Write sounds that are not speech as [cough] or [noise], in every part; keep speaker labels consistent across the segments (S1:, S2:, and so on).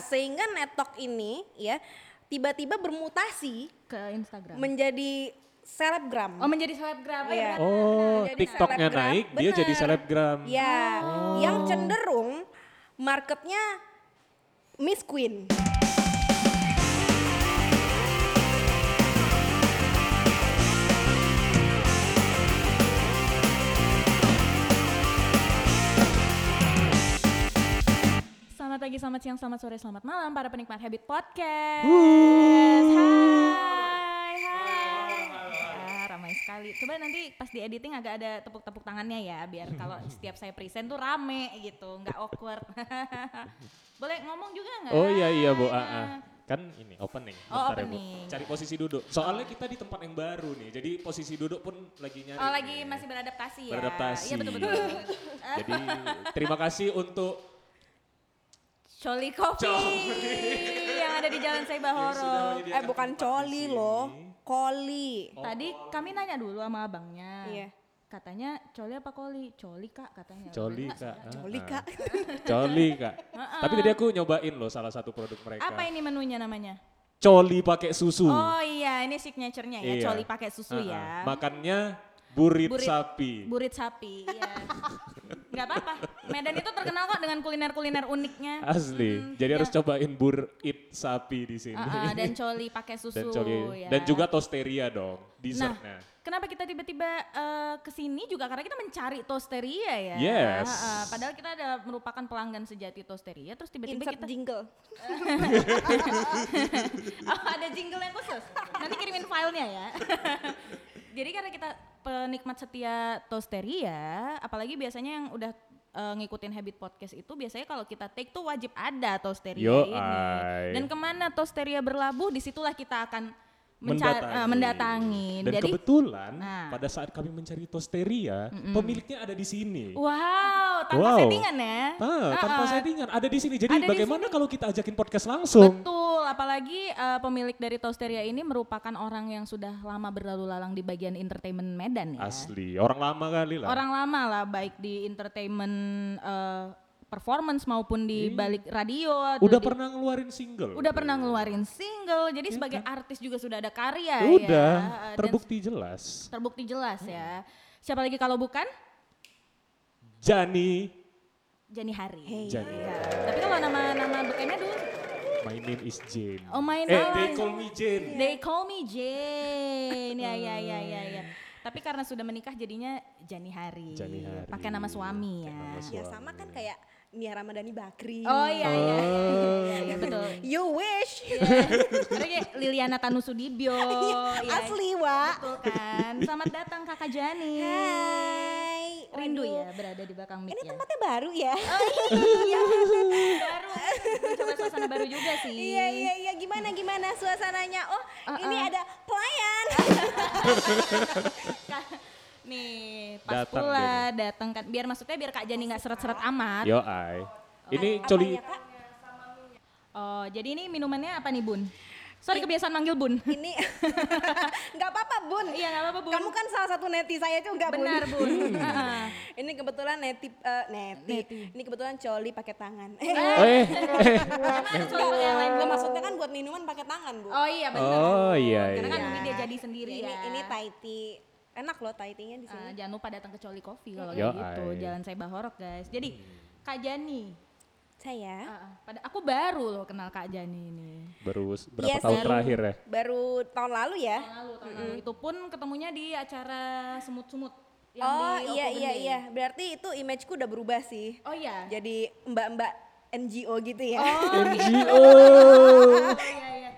S1: Sehingga netok ini ya tiba-tiba bermutasi
S2: ke Instagram.
S1: menjadi selebgram.
S2: oh menjadi selebgram.
S1: Iya.
S2: ya.
S3: Oh,
S1: Jadi
S3: TikToknya
S1: selebgram.
S3: naik, dia
S1: Bener.
S3: jadi selebgram.
S2: Iya.
S1: Ya,
S2: Oh.
S1: yang cenderung marketnya Miss Queen.
S2: Selamat pagi, selamat siang, selamat sore, selamat malam para penikmat Habit Podcast. Hai, hai. Ya, ramai sekali. Coba nanti pas di editing agak ada tepuk-tepuk tangannya ya, biar kalau
S3: [laughs]
S2: setiap saya present tuh rame gitu, nggak awkward. [laughs] Boleh ngomong juga nggak?
S3: Oh iya iya Bu Aa. Kan ini opening.
S2: Oh,
S3: Bentar ya, Bu.
S2: opening.
S3: Cari posisi duduk. Soalnya kita di tempat yang baru nih. Jadi posisi duduk pun lagi nyari.
S2: Oh lagi
S3: nih.
S2: masih beradaptasi ya.
S3: Beradaptasi.
S2: Iya betul
S3: [laughs]
S2: betul.
S3: Jadi terima kasih untuk
S2: Coli Coffee
S3: Coli.
S2: yang ada di Jalan Seiba
S3: sudah
S2: Horor.
S1: Eh
S3: menyediakan
S1: bukan
S3: tempat
S1: coli
S3: di sini.
S1: loh, koli.
S2: Tadi
S3: Oh.
S2: kami nanya dulu sama abangnya.
S1: Iya.
S2: Katanya coli apa koli? Coli kak katanya.
S3: Coli
S2: Bener nggak?
S3: Kak. Ah,
S1: Coli
S3: ah.
S1: kak.
S3: Coli Kak. Tapi tadi aku nyobain loh salah satu produk mereka.
S2: Apa ini menunya namanya?
S3: Coli pakai susu.
S2: Oh iya ini signaturenya ya.
S3: Uh. Iya.
S2: Coli pakai susu
S3: Ah, ah.
S2: ya.
S3: Makannya burit,
S2: Burit-
S3: sapi.
S2: Burit sapi. Iya. Gak apa-apa. Medan itu terkenal kok dengan kuliner-kuliner uniknya.
S3: Asli. Jadi harus cobain burit sapi di sini.
S2: Hmm, iya. Ah, ah, dan coli pakai susu.
S3: dan coli
S2: ya.
S3: dan juga tosteria dong
S2: Nah,
S3: dessertnya
S2: kenapa kita tiba-tiba eh, kesini juga karena kita mencari Tosteria ya.
S3: Yes.
S2: Ah, ah, padahal kita ada merupakan pelanggan sejati Tosteria, terus tiba-tiba
S1: Insert
S2: kita
S1: jingle.
S2: Oh, [laughs] ada jingle yang khusus. Nanti kirimin filenya ya. [laughs] Jadi karena kita penikmat setia Tosteria, apalagi biasanya yang udah eh, ngikutin habit podcast itu biasanya kalau kita take tuh wajib ada Tosteria
S3: Yo,
S2: ini.
S3: ay.
S2: Dan kemana Tosteria berlabuh, disitulah kita akan menca- eh, mendatangi.
S3: dan
S2: Jadi
S3: kebetulan
S2: Nah.
S3: pada saat kami mencari tosteria pemiliknya ada di sini
S2: Wow, tanpa
S3: Wow.
S2: settingan ya.
S3: Ah, tanpa
S2: Uh-uh.
S3: settingan ada di sini jadi
S2: Ada di
S3: bagaimana kalau kita ajakin podcast langsung
S2: Betul, apalagi eh, pemilik dari Tosteria ini merupakan orang yang sudah lama berlalu lalang di bagian entertainment Medan ya.
S3: asli orang lama kali lah
S2: Orang lama lah baik di entertainment eh, performance maupun di balik radio.
S3: Iya. udah
S2: di-
S3: pernah ngeluarin single
S2: udah pernah ngeluarin single. Jadi sebagai artis juga sudah ada karya ya.
S3: kan? udah
S2: Eh, dan
S3: terbukti jelas
S2: terbukti jelas ya. Siapa lagi kalau bukan?
S3: Jani
S2: Jani Hari.
S3: Jani
S2: Ya. Tapi kalau nama-nama bekennya dulu
S3: Iya. my name is Jane
S2: Oh, my
S3: eh
S2: name
S3: they
S2: is-
S3: call me Jane
S2: They call me Jane. Ya ya ya ya ya. Tapi karena sudah menikah jadinya Jani Hari.
S3: Jani Hari.
S2: Pakai nama suami ya.
S3: Pakai nama
S1: Ya sama
S3: iya.
S1: kan kayak Nia Ramadhani Bakri.
S2: Oh iya iya. [laughs] Iya, betul.
S1: You wish.
S2: Ada kayak Liliana [laughs] Tanusudibyo. ya.
S1: [laughs] Asli, Wak.
S2: Betul kan. Selamat datang Kakak Jani.
S1: Hai.
S2: Rindu
S1: Waduh.
S2: ya berada di belakang mic
S1: Ini
S2: ya.
S1: tempatnya baru ya.
S2: Baru mencoba suasana baru juga sih.
S1: Iya iya iya gimana gimana suasananya? Oh,
S2: Ah,
S1: ini ada pelayan.
S2: [laughs] Nih, pas
S3: Datang
S2: pula datang kan biar maksudnya biar Kak Jani nggak seret-seret amat.
S3: yo ai ini
S1: Apanya,
S3: coli
S1: ya,
S2: ya?
S1: Kak?
S2: Oh, jadi ini minumannya apa nih, Bun? Sorry kebiasaan manggil Bun. [laughs]
S1: Ini [laughs] nggak apa-apa Bun.
S2: Iya, nggak apa-apa, Bun.
S1: Kamu kan salah satu neti saya juga Bun. Hmm.
S2: Benar, Bun. [laughs] Heeh.
S1: ini kebetulan neti eh, neti.
S2: Neti.
S1: Ini kebetulan coli pakai tangan.
S3: eh
S2: Gimana soal yang Iya, lain?
S1: [laughs] Nggak, maksudnya kan buat minuman pakai tangan bu.
S2: Oh iya, benar.
S3: Oh, iya,
S2: Karena kan
S3: iya.
S2: mungkin dia jadi sendiri
S1: ini
S2: ya.
S1: ini Thai tea. Enak loh Thai tea-nya di sini.
S2: Eh, jangan lupa datang ke Coli Coffee kalau
S3: Yo,
S2: kayak gitu.
S3: ai.
S2: Jalan saya Bahorok, guys. Jadi Kak Jani,
S1: saya
S2: eh, eh, pada aku baru loh kenal Kak Jani ini.
S3: baru s- berapa
S1: Yes,
S3: tahun
S1: baru-
S3: terakhir ya
S2: Oh,
S1: Baru tahun lalu ya.
S2: Tahun Lalu, tahun lalu. Itu pun ketemunya di acara semut-semut yang
S1: oh
S2: di
S1: iya
S2: Oku
S1: iya
S2: Gending.
S1: iya. Berarti itu imageku udah berubah sih.
S2: Oh [laughs] iya.
S1: Jadi mbak-mbak NGO gitu ya.
S3: NGO
S2: Oh iya iya.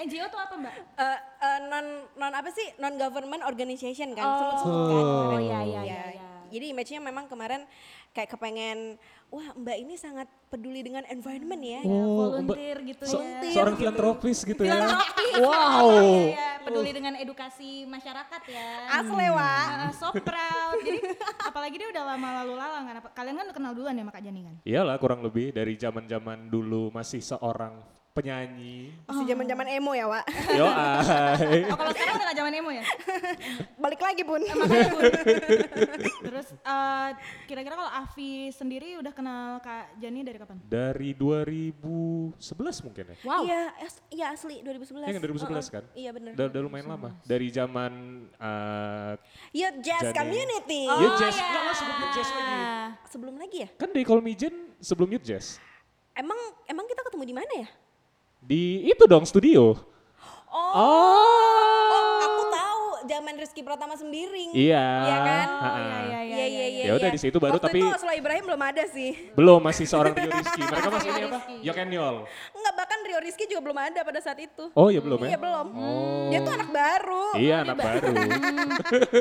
S2: NGO tuh apa, Mbak?
S1: [laughs] Eh, eh, non non apa sih non government organization kan
S2: Oh.
S1: sempat sebut kan
S2: Oh,
S1: kemarin.
S2: iya, iya,
S1: Ya,
S2: iya, iya.
S1: jadi image-nya memang kemarin kayak kepengen wah mbak ini sangat peduli dengan environment ya
S2: Iya. volunteer gitu
S3: Oh, so-
S2: ya.
S3: seorang filantropis gitu ya
S2: Filantropis.
S3: wow
S2: Iya, iya, peduli dengan edukasi masyarakat ya.
S1: asli wah
S2: Ah, so proud. Jadi apalagi dia udah lama lalu lalang kan. Apa- Kalian kan kenal duluan ya sama Kak Jani kan?
S3: iyalah kurang lebih dari zaman zaman dulu masih seorang
S2: [laughs]
S3: penyanyi.
S1: Masih zaman-zaman emo ya, Wak.
S3: Yo, ay.
S2: Oh kalau sekarang udah gak zaman emo ya?
S1: Balik lagi, Bun.
S2: Makanya Bu. Terus eh, kira-kira kalau Avi sendiri udah kenal Kak Jani dari kapan?
S3: dari 2011 mungkin ya.
S2: Wow.
S1: [laughs] Iya, as- iya asli 2011.
S3: Iya kan, 2011
S1: Heeh.
S3: kan?
S2: uh-uh.
S1: Iya bener.
S3: Udah, udah lumayan lama. Dari zaman eh,
S1: Youth Iya, Jazz
S3: Jadi-
S1: Community.
S3: Oh. Youth Jazz.
S2: iya. Oh,
S3: Nggak lah, sebelum Youth Jazz lagi.
S1: Sebelum lagi ya?
S3: kan They Call Me Jane sebelum Youth Jazz.
S1: Emang emang kita ketemu di mana ya?
S3: Di itu dong studio.
S1: Oh, aku tahu zaman Rizky Pratama Sembiring.
S3: Iya.
S1: Iya kan?
S2: Oh,
S3: Ha-ha.
S2: iya, iya.
S1: Iya iya iya.
S3: Ya udah,
S1: iya.
S3: di situ baru,
S1: Waktu
S3: tapi-
S1: itu Aslo Ibrahim belum ada sih.
S3: Belum masih seorang Rio Rizky. Mereka
S2: Masih
S3: masih ini
S2: Rio
S3: apa?
S2: Rizky.
S3: Yok and Yol.
S1: Enggak bahkan Rio Rizky juga belum ada pada saat itu.
S3: Oh ya belum ya?
S1: Iya belum.
S3: Oh.
S1: Dia tuh anak baru.
S3: Iya anak baru.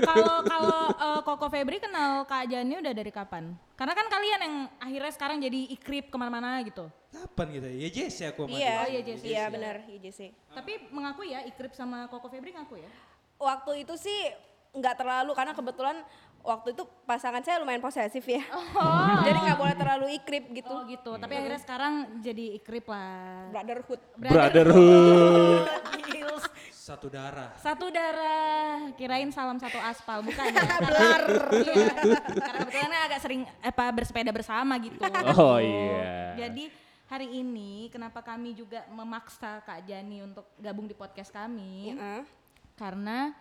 S2: Kalau kalau eh, Koko Febri kenal Kak Jani udah dari kapan? Karena kan kalian yang akhirnya sekarang jadi ikrip kemana-mana gitu.
S4: Kapan gitu ya? Ya Jesse aku sama
S1: Iya,
S4: dia.
S2: iya, Jesse.
S1: iya benar, iya Jesse.
S2: Tapi mengaku ya ikrip sama Koko Febri ngaku ya.
S1: Waktu itu sih nggak terlalu karena kebetulan waktu itu pasangan saya lumayan posesif ya. [laughs] Jadi nggak boleh terlalu ikrip gitu.
S2: Oh gitu. Tapi akhirnya sekarang jadi ikrip
S1: Oh.
S2: lah.
S1: Brotherhood.
S3: Brotherhood.
S2: Gils.
S4: Satu darah.
S2: Satu darah, kirain salam satu aspal, bukan ya?
S1: Blar.
S2: Iya, Karena kebetulan agak sering apa bersepeda bersama gitu.
S3: Oh, iya.
S2: Jadi hari ini kenapa kami juga memaksa Kak Jani untuk gabung di podcast kami?
S1: Heeh.
S2: Karena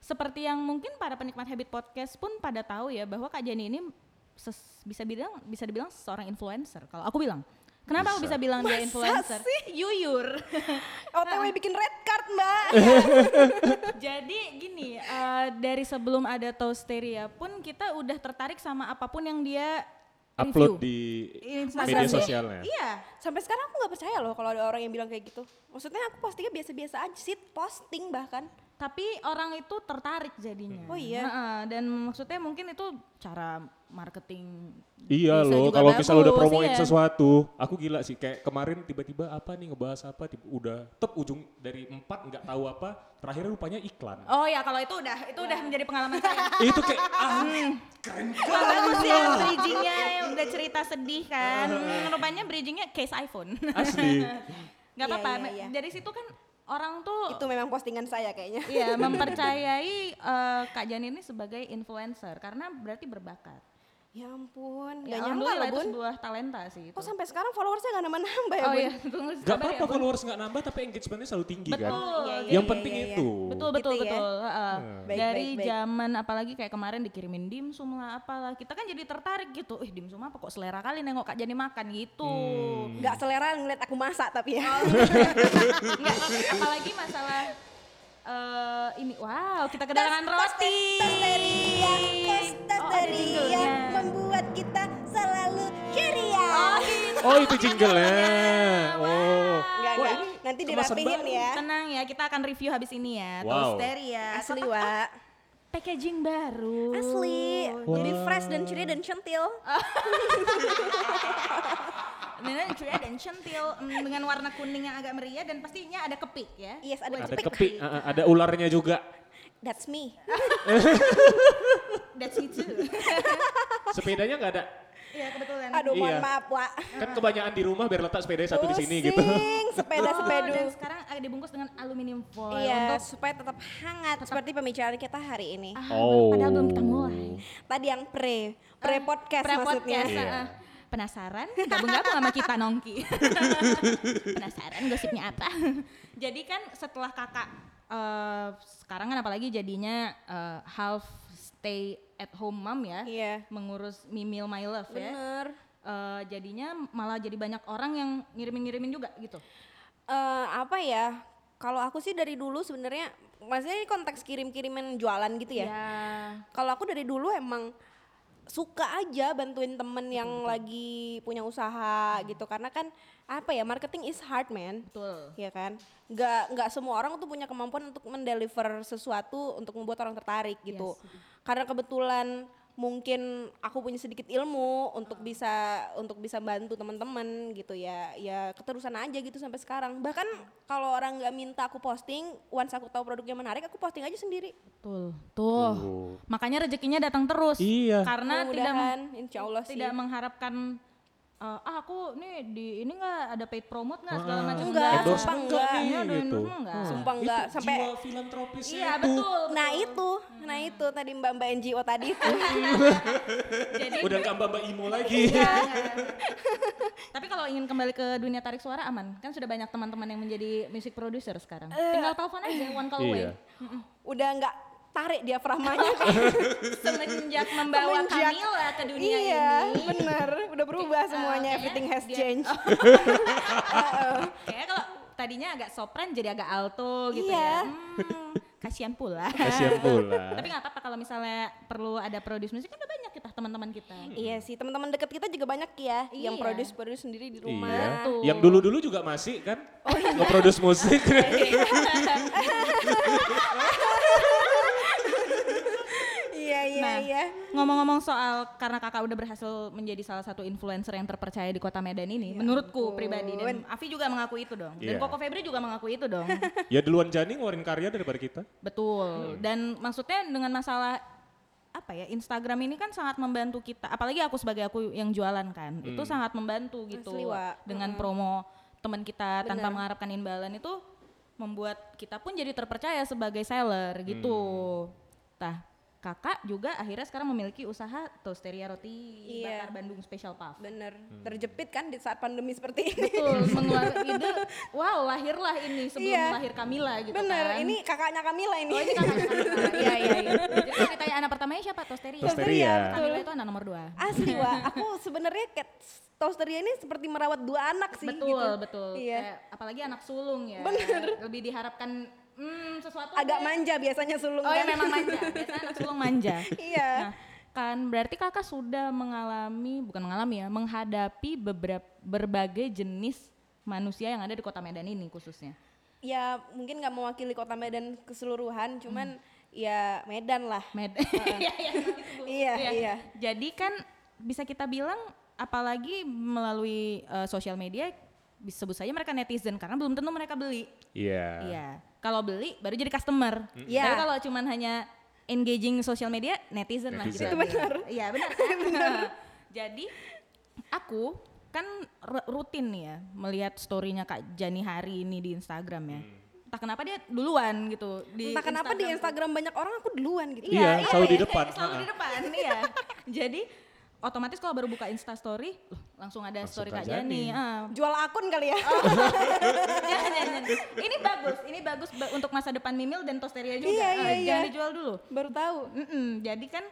S2: seperti yang mungkin para penikmat Habit Podcast pun pada tahu ya bahwa Kak Jani ini ses- bisa bilang bisa dibilang seorang influencer. Kalau aku bilang, kenapa aku bisa bilang dia influencer? Yuyur.
S1: OTW bikin red card, Mbak.
S2: Jadi gini, eh, dari sebelum ada Toasteria pun kita udah tertarik sama apapun yang dia
S3: Upload
S2: review.
S3: di
S2: Iya, Instagram.
S3: media sosialnya.
S2: Iya.
S1: Sampai sekarang aku nggak percaya loh kalau ada orang yang bilang kayak gitu. Maksudnya aku postingnya biasa-biasa aja sih, posting bahkan.
S2: Tapi orang itu tertarik jadinya.
S1: Oh iya.
S2: Heeh, dan maksudnya mungkin itu cara marketing.
S3: Iya
S2: bisa
S3: loh,
S2: juga
S3: kalau misal udah
S2: bagus,
S3: promoin
S2: iya.
S3: sesuatu, aku gila sih. Kayak kemarin tiba-tiba apa nih ngebahas apa, tiba, udah tep ujung dari empat nggak tahu apa, terakhir rupanya iklan.
S2: Oh ya kalau itu udah itu
S1: Iya.
S2: udah menjadi pengalaman saya.
S1: [laughs]
S3: Itu kayak ah,
S2: Wah, bagus
S1: iya.
S2: ya bridgingnya udah cerita sedih kan.
S3: Iya,
S2: Hmm, Rupanya bridgingnya case iPhone. [laughs]
S3: asli.
S2: Gak
S1: Iya,
S2: apa-apa.
S1: iya, iya.
S2: Dari situ kan orang tuh
S1: Itu memang postingan saya kayaknya.
S2: Iya, mempercayai eh, Kak Jani ini sebagai influencer karena berarti berbakat.
S1: Ya ampun,
S2: Ya,
S1: nggak nyangka
S2: alhamdulillah
S1: loh
S2: itu
S1: Bun.
S2: sebuah talenta sih itu.
S1: Kok sampai sekarang followersnya nggak nambah-nambah ya
S2: oh
S1: Bun?
S2: iya, tunggu sabar
S3: Gak
S2: ya,
S3: apa-apa
S2: Bun.
S3: followers nggak nambah tapi engagementnya selalu tinggi kan.
S2: Betul.
S1: Iya, iya,
S3: Yang
S1: iya,
S3: penting
S1: iya, iya.
S3: itu.
S2: Betul
S1: Gitu
S2: betul
S1: ya.
S2: betul.
S3: Iya.
S2: heeh.
S1: Baik,
S2: Dari
S1: baik, baik.
S2: zaman apalagi kayak kemarin dikirimin dimsum lah apalah. Kita kan jadi tertarik gitu. Eh dimsum apa kok selera kali nengok Kak Jani makan gitu.
S3: Hmm.
S1: Nggak selera ngeliat aku masak tapi [laughs]
S2: Oh,
S1: ya.
S2: Enggak, apalagi masalah eh ini wow, kita kedatangan roti.
S1: Tosteria,
S2: Oh, ada
S1: Tosteria
S2: jinglenya.
S1: membuat kita selalu ceria.
S2: Oh, gitu.
S3: Oh itu jinglenya. Oh.
S1: Enggak,
S3: Wah,
S1: enggak.
S3: ini
S1: Nanti
S3: kemasan
S1: dirapihin
S3: baru.
S1: ya.
S2: Tenang ya, kita akan review habis ini ya.
S3: Wow.
S2: Toasteria.
S1: Asli, Wak.
S2: Packaging baru.
S1: Asli. Jadi fresh dan ceria dan centil.
S2: Dengan cuya dan centil mm, dengan warna kuning yang agak meriah dan pastinya ada kepik ya.
S1: Yes, ada
S3: Ada
S1: kepik.
S3: kepi, eh, eh, ada ularnya juga.
S1: That's me.
S2: That's me
S1: [laughs]
S2: too.
S3: Sepedanya nggak ada.
S2: Iya kebetulan.
S1: Nah, Aduh, mohon
S3: Iya.
S1: maaf, Wak.
S3: Kan kebanyakan di rumah biar letak sepedanya satu di sini
S1: [laughs]
S3: gitu.
S1: Pusing, sepeda-sepedu.
S2: Oh, dan sekarang agak dibungkus dengan aluminium foil
S1: Iya,
S2: untuk
S1: supaya tetap hangat seperti pembicaraan kita hari ini.
S2: ah,
S3: Oh.
S2: padahal belum kita mulai.
S1: Tadi yang pre, pre podcast maksudnya.
S2: Pre-podcast,
S3: Iya.
S2: ah. Penasaran? Gabung-gabung sama kita
S3: [laughs]
S2: Nongki. Penasaran gosipnya apa? Jadi kan setelah kakak eh, sekarang kan apalagi jadinya eh, half stay at home mom ya,
S1: Iya.
S2: mengurus Mimil My Love ya.
S1: Bener.
S2: Eh, jadinya malah jadi banyak orang yang ngirimin-ngirimin juga gitu.
S1: Eh, apa ya? Kalau aku sih dari dulu sebenarnya maksudnya ini konteks kirim-kiriman jualan gitu ya.
S2: Iya.
S1: Kalau aku dari dulu emang suka aja bantuin temen yang lagi punya usaha gitu karena kan apa ya marketing is hard man
S2: Betul.
S1: ya kan nggak nggak semua orang tuh punya kemampuan untuk mendeliver sesuatu untuk membuat orang tertarik
S2: Iya
S1: gitu karena kebetulan mungkin aku punya sedikit ilmu untuk bisa untuk bisa bantu teman-teman gitu ya ya keterusan aja gitu sampai sekarang bahkan kalau orang nggak minta aku posting once aku tahu produknya menarik aku posting aja sendiri
S2: Betul. Tuh.
S3: Tuh.
S2: Makanya rezekinya datang terus.
S3: Iya.
S2: Karena tidak
S1: mudah-mudahan insya Allah sih
S2: tidak mengharapkan eh, ah aku nih di ini nggak ada paid promote nggak segala
S3: Ah,
S2: macam
S1: Enggak,
S3: endorse
S1: sumpah
S3: enggak
S1: enggak.
S3: nih,
S2: Iya, doain
S3: gitu.
S2: dulu enggak.
S3: Ah,
S1: Nah, Sumpah enggak,
S3: itu
S1: sampai-
S3: jiwa filantropisnya
S2: Iya
S3: itu.
S2: betul.
S1: Nah itu, nah itu tadi mbak-mbak NGO tadi
S2: [laughs]
S1: itu.
S2: Jadi
S3: Udah nggak mbak mbak Imo [laughs] lagi.
S2: Iya. [laughs] Tapi kalau ingin kembali ke dunia tarik suara aman, kan sudah banyak teman-teman yang menjadi music producer sekarang.
S1: Eh.
S2: Tinggal telepon aja one call away.
S3: Iya.
S1: Udah enggak tarik diafragmanya kan.
S2: Semenjak membawa
S1: Semenjak-
S2: Camila ke dunia
S1: iya,
S2: ini.
S1: benar. Udah berubah
S2: Eh,
S1: semuanya,
S2: kayaknya
S1: everything has
S2: dia-
S1: changed.
S2: Kayaknya kalau tadinya agak sopran jadi agak alto gitu
S1: Iya.
S2: ya. Hmm, kasihan pula.
S3: Kasian Eh, pula. Iya.
S2: Tapi nggak apa-apa kalau misalnya perlu ada produce musik kan udah banyak kita teman-teman kita.
S1: Iya sih, teman-teman dekat kita juga banyak ya yang
S2: Iya.
S1: produce-produce sendiri di rumah.
S3: Iya.
S2: Tuh. Oh, iya.
S3: Yang dulu-dulu juga masih kan nge-produce
S2: [laughs]
S3: musik.
S1: Iya, iya,
S2: Nah,
S1: iya.
S2: ngomong-ngomong soal karena kakak udah berhasil menjadi salah satu influencer yang terpercaya di kota Medan ini,
S1: Iya,
S2: menurutku pribadi dan Avi juga mengaku itu dong, dan
S3: Iya.
S2: Koko Febri juga mengaku itu
S1: [laughs]
S2: dong,
S3: ya duluan Jani ngeluarin karya daripada kita.
S2: betul. Dan maksudnya dengan masalah apa ya Instagram ini kan sangat membantu kita, apalagi aku sebagai aku yang jualan kan, itu sangat membantu gitu
S1: Asli, Wak.
S2: dengan promo teman kita tanpa mengharapkan imbalan itu membuat kita pun jadi terpercaya sebagai seller gitu. Tah, kakak juga akhirnya sekarang memiliki usaha Toasteria Roti
S1: Iya.
S2: Bakar Bandung Special Puff.
S1: Bener, terjepit kan di saat pandemi seperti ini.
S2: Betul, mengeluarkan
S1: [laughs]
S2: ide, wow lahirlah ini sebelum
S1: Iya.
S2: lahir Kamila gitu
S1: Bener,
S2: kan.
S1: ini kakaknya Kamila ini.
S2: Oh ini kakak kakak. Iya, iya, iya. Jadi ceritanya anak pertamanya siapa? Toasteria.
S3: Toasteria.
S2: Kamila itu anak nomor dua.
S1: Asli Wak, aku sebenarnya kayak toasteria ini seperti merawat dua anak sih
S2: betul,
S1: gitu.
S2: betul.
S1: Iya.
S2: Kayak, apalagi anak sulung ya.
S1: Bener.
S2: Lebih diharapkan hmm, sesuatu.
S1: Agak
S2: deh.
S1: manja biasanya sulung
S2: Oh ya
S1: kan.
S2: memang manja. Biasanya anak sulung manja.
S1: [laughs] Iya.
S2: Nah, kan berarti kakak sudah mengalami bukan mengalami ya menghadapi beberapa berbagai jenis manusia yang ada di kota Medan ini khususnya
S1: Ya mungkin nggak mewakili kota Medan keseluruhan, cuman ya Medan lah.
S2: Med [laughs] Iya, iya, gitu.
S1: Iya, iya.
S2: Jadi kan bisa kita bilang apalagi melalui eh, sosial media bisa sebut saja mereka netizen karena belum tentu mereka beli.
S3: Iya.
S2: Iya. Kalau beli baru jadi customer.
S1: Iya.
S2: Tapi kalau cuman hanya engaging sosial media netizen, lah kita.
S3: Netizen. Itu
S2: benar. [laughs] Iya,
S1: [laughs]
S2: benar. kan? [laughs] jadi aku kan ru- rutin nih ya melihat story-nya Kak Jani hari ini di Instagram ya.
S3: Hmm.
S2: Entah kenapa dia duluan gitu di
S1: Entah kenapa di Instagram
S2: Instagram.
S1: banyak orang aku duluan gitu.
S3: Iya, selalu di
S2: iya,
S3: depan.
S2: Selalu di depan, iya. Jadi otomatis kalau baru buka Insta story, loh, langsung ada
S3: Langsung
S2: story Kak
S3: Kak
S2: Jani.
S3: Jani.
S2: ah.
S1: Jual akun kali ya.
S2: Oh.
S1: [laughs]
S2: Jangan, jangan, jangan. [laughs] ini bagus, ini bagus ba- untuk masa depan Mimil dan Tosteria juga.
S1: Iya,
S2: Ah,
S1: iya, iya.
S2: Jangan dijual dulu.
S1: Baru tahu.
S2: Mm-mm, jadi kan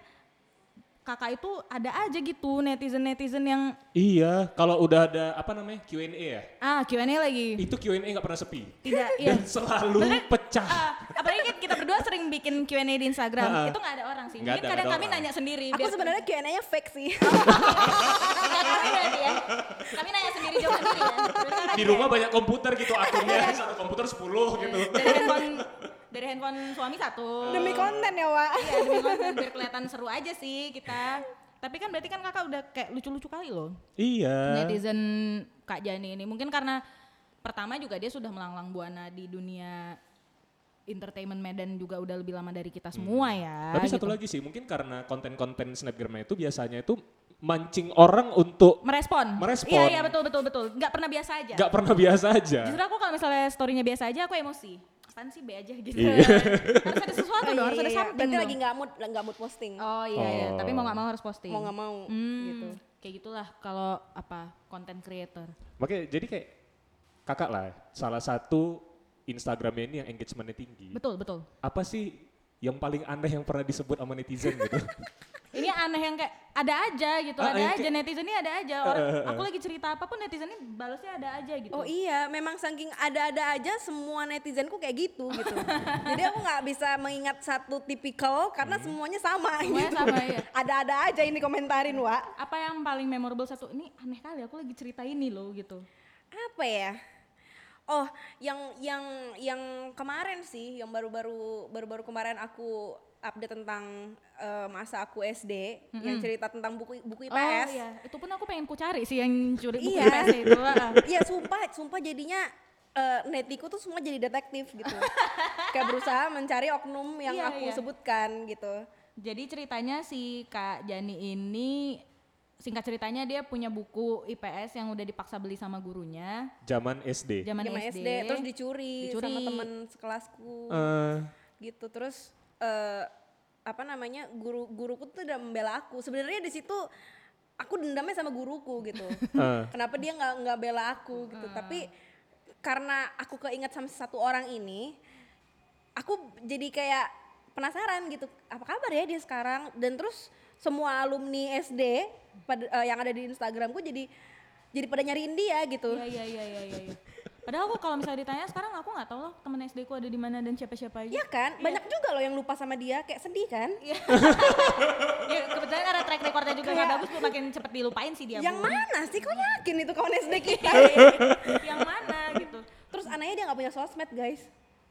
S2: kakak itu ada aja gitu netizen-netizen yang
S3: Iya, kalau udah ada apa namanya Q&A ya,
S2: ah Q&A lagi.
S3: itu Q&A nggak pernah sepi
S2: Tidak, iya.
S3: dan selalu
S2: Bener.
S3: pecah.
S2: Ah, apalagi kan kita berdua sering bikin Q&A di Instagram,
S3: Ah, ah.
S2: itu nggak ada orang sih.
S3: Nggak
S2: Mungkin
S3: ada,
S2: kadang
S3: nggak ada
S2: kami
S3: orang.
S2: nanya sendiri.
S1: Aku
S2: biar- [laughs] Oh.
S1: sebenarnya Q&A-nya fake sih.
S2: kami berarti ya. Kami nanya sendiri jawab sendiri ya. Berarti kakak
S3: Di
S2: juga
S3: rumah banyak komputer gitu akunnya satu komputer 10 gitu.
S2: Dari handphone dari handphone suami satu.
S1: [laughs] Demi konten ya, Wak.
S2: Iya, demi konten biar kelihatan seru aja sih kita. Tapi kan berarti kan kakak udah kayak lucu-lucu kali loh.
S3: Iya.
S2: Netizen Kak Jani ini mungkin karena pertama juga dia sudah melanglang buana di dunia entertainment Medan juga udah lebih lama dari kita semua ya.
S3: Hmm. Tapi satu
S2: gitu.
S3: lagi sih, mungkin karena konten-konten snapgramnya itu biasanya itu mancing orang untuk
S2: merespon.
S3: Merespon.
S2: Iya iya betul betul betul. Gak pernah biasa aja.
S3: nggak pernah biasa aja.
S2: Justru aku kalau misalnya story-nya biasa aja aku emosi. Apaan sih B aja gitu.
S3: Iya.
S2: harus ada sesuatu dong, harus ada something
S1: Iya, Berarti
S2: dong.
S1: lagi nggak mood, nggak mood posting.
S2: Oh iya iya, tapi mau nggak mau harus posting.
S1: Mau nggak mau
S2: Hmm,
S1: gitu.
S2: Kayak gitulah kalau apa konten creator.
S3: Makanya jadi kayak kakak lah salah satu Instagramnya ini yang engagementnya tinggi.
S2: Betul betul.
S3: Apa sih yang paling aneh yang pernah disebut sama netizen
S2: [laughs]
S3: gitu?
S2: Ini aneh yang kayak ada aja gitu,
S3: Ah,
S2: ada
S3: yang
S2: aja
S3: kayak- Eh,
S2: netizen ini ada aja. Orang, aku lagi cerita apapun netizen ini balasnya ada aja gitu.
S1: Oh iya, memang saking ada-ada aja semua netizenku kayak gitu
S2: [laughs]
S1: gitu. Jadi aku nggak bisa mengingat satu tipikal karena semuanya sama
S2: Mm. Semuanya
S1: gitu.
S2: sama, iya.
S1: Ada-ada aja ini komentarin, Wak.
S2: Apa yang paling memorable satu ini aneh kali aku lagi cerita ini loh gitu.
S1: Apa ya? Oh, yang yang yang kemarin sih, yang baru-baru baru-baru kemarin aku update tentang eh, masa aku SD, yang cerita tentang buku buku IPS.
S2: Oh iya, itu pun aku pengen ku cari sih yang curi buku
S1: Iya.
S2: IPS itu. ah.
S1: Iya sumpah, sumpah jadinya eh, netiku tuh semua jadi detektif
S2: [laughs]
S1: gitu. Kayak berusaha mencari oknum yang
S2: Iya,
S1: aku
S2: iya.
S1: sebutkan gitu.
S2: Jadi ceritanya si Kak Jani ini singkat ceritanya dia punya buku IPS yang udah dipaksa beli sama gurunya
S3: Zaman SD.
S2: zaman
S1: Zaman
S2: SD,
S1: SD, terus dicuri,
S2: Dicuri.
S1: sama temen sekelasku
S3: Eh,
S1: gitu terus eh, apa namanya guru guruku tuh udah membela aku sebenarnya di situ aku dendamnya sama guruku gitu
S3: Eh.
S1: kenapa dia nggak nggak bela aku gitu tapi karena aku keinget sama satu orang ini aku jadi kayak penasaran gitu apa kabar ya dia sekarang dan terus semua alumni SD pada, eh, yang ada di Instagramku jadi jadi pada nyariin dia gitu
S2: Iya iya iya iya iya. iya. Padahal aku kalau misalnya ditanya sekarang aku nggak tahu loh teman SD ku ada di mana dan siapa-siapa aja. Iya.
S1: Iya kan banyak juga loh yang lupa sama dia kayak sedih kan
S2: Ya, kebetulan karena track recordnya juga nggak
S1: Kayak-
S2: bagus, Bu, makin cepet dilupain sih dia.
S1: yang
S2: Ya, Bu.
S1: mana sih kok yakin itu kawan SD
S2: [laughs]
S1: kita
S2: yang mana gitu.
S1: terus anaknya dia nggak punya sosmed guys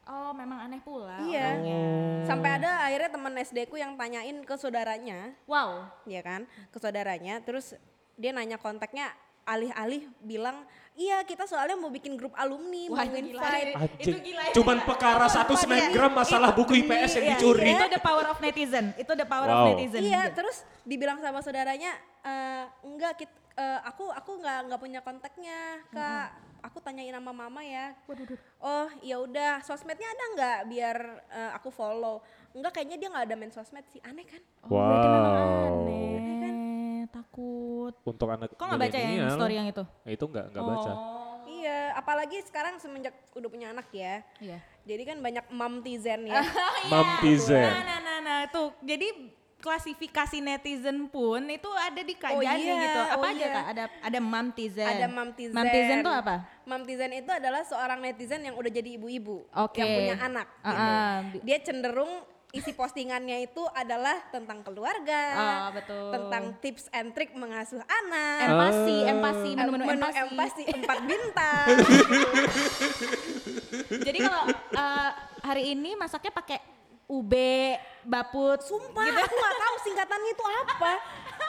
S2: Oh, memang aneh pula.
S1: iya
S2: orangnya.
S1: sampai ada akhirnya teman SD ku yang tanyain ke saudaranya
S2: Wow.
S1: ya kan ke saudaranya terus dia nanya kontaknya alih-alih bilang iya kita soalnya mau bikin grup alumni
S2: Wah,
S1: mau
S2: itu gila.
S1: invite
S3: Eh, anjing.
S2: gila ya.
S3: Cuman perkara satu snapgram masalah buku IPS yang
S1: iya,
S3: dicuri.
S2: Itu the power of netizen. Itu the power
S3: Wow.
S2: of netizen.
S1: iya terus dibilang sama saudaranya "Eh, enggak kit- eh, aku aku nggak nggak punya kontaknya kak aku tanyain sama mama ya oh ya udah sosmednya ada nggak biar eh, aku follow enggak kayaknya dia nggak ada main sosmed sih aneh kan
S2: Oh, berarti memang
S3: Wow.
S2: Iya aneh. Takut.
S3: Untuk anak
S2: Kok nggak baca yang
S3: milenial, Ya,
S2: story yang itu?
S3: Itu nggak nggak baca.
S2: Oh.
S1: iya apalagi sekarang semenjak udah punya anak ya
S2: Iya.
S1: jadi kan banyak mom tizen
S2: [laughs]
S1: ya
S3: Mampizen.
S2: Nah, nah, nah, nah, tuh. Jadi klasifikasi netizen pun itu ada di kajian
S1: iya,
S2: gitu. Apa
S1: oh
S2: aja
S1: iya.
S2: kak? Ada ada mamtizen.
S1: ada mom tizen
S2: Mamtizen tuh apa?
S1: mom tizen itu adalah seorang netizen yang udah jadi ibu-ibu
S2: Oke.
S1: yang punya anak gitu.
S2: Ah, ah.
S1: dia cenderung isi postingannya itu adalah tentang keluarga
S2: Ah, betul.
S1: tentang tips and trick mengasuh anak
S2: Empati, empati, menu-menu
S1: menu
S2: empati.
S1: empati empat
S2: [laughs]
S1: bintang
S2: Jadi kalau eh, hari ini masaknya pakai ube, baput, gitu.
S1: Sumpah, Gitu, aku nggak tahu singkatannya itu apa.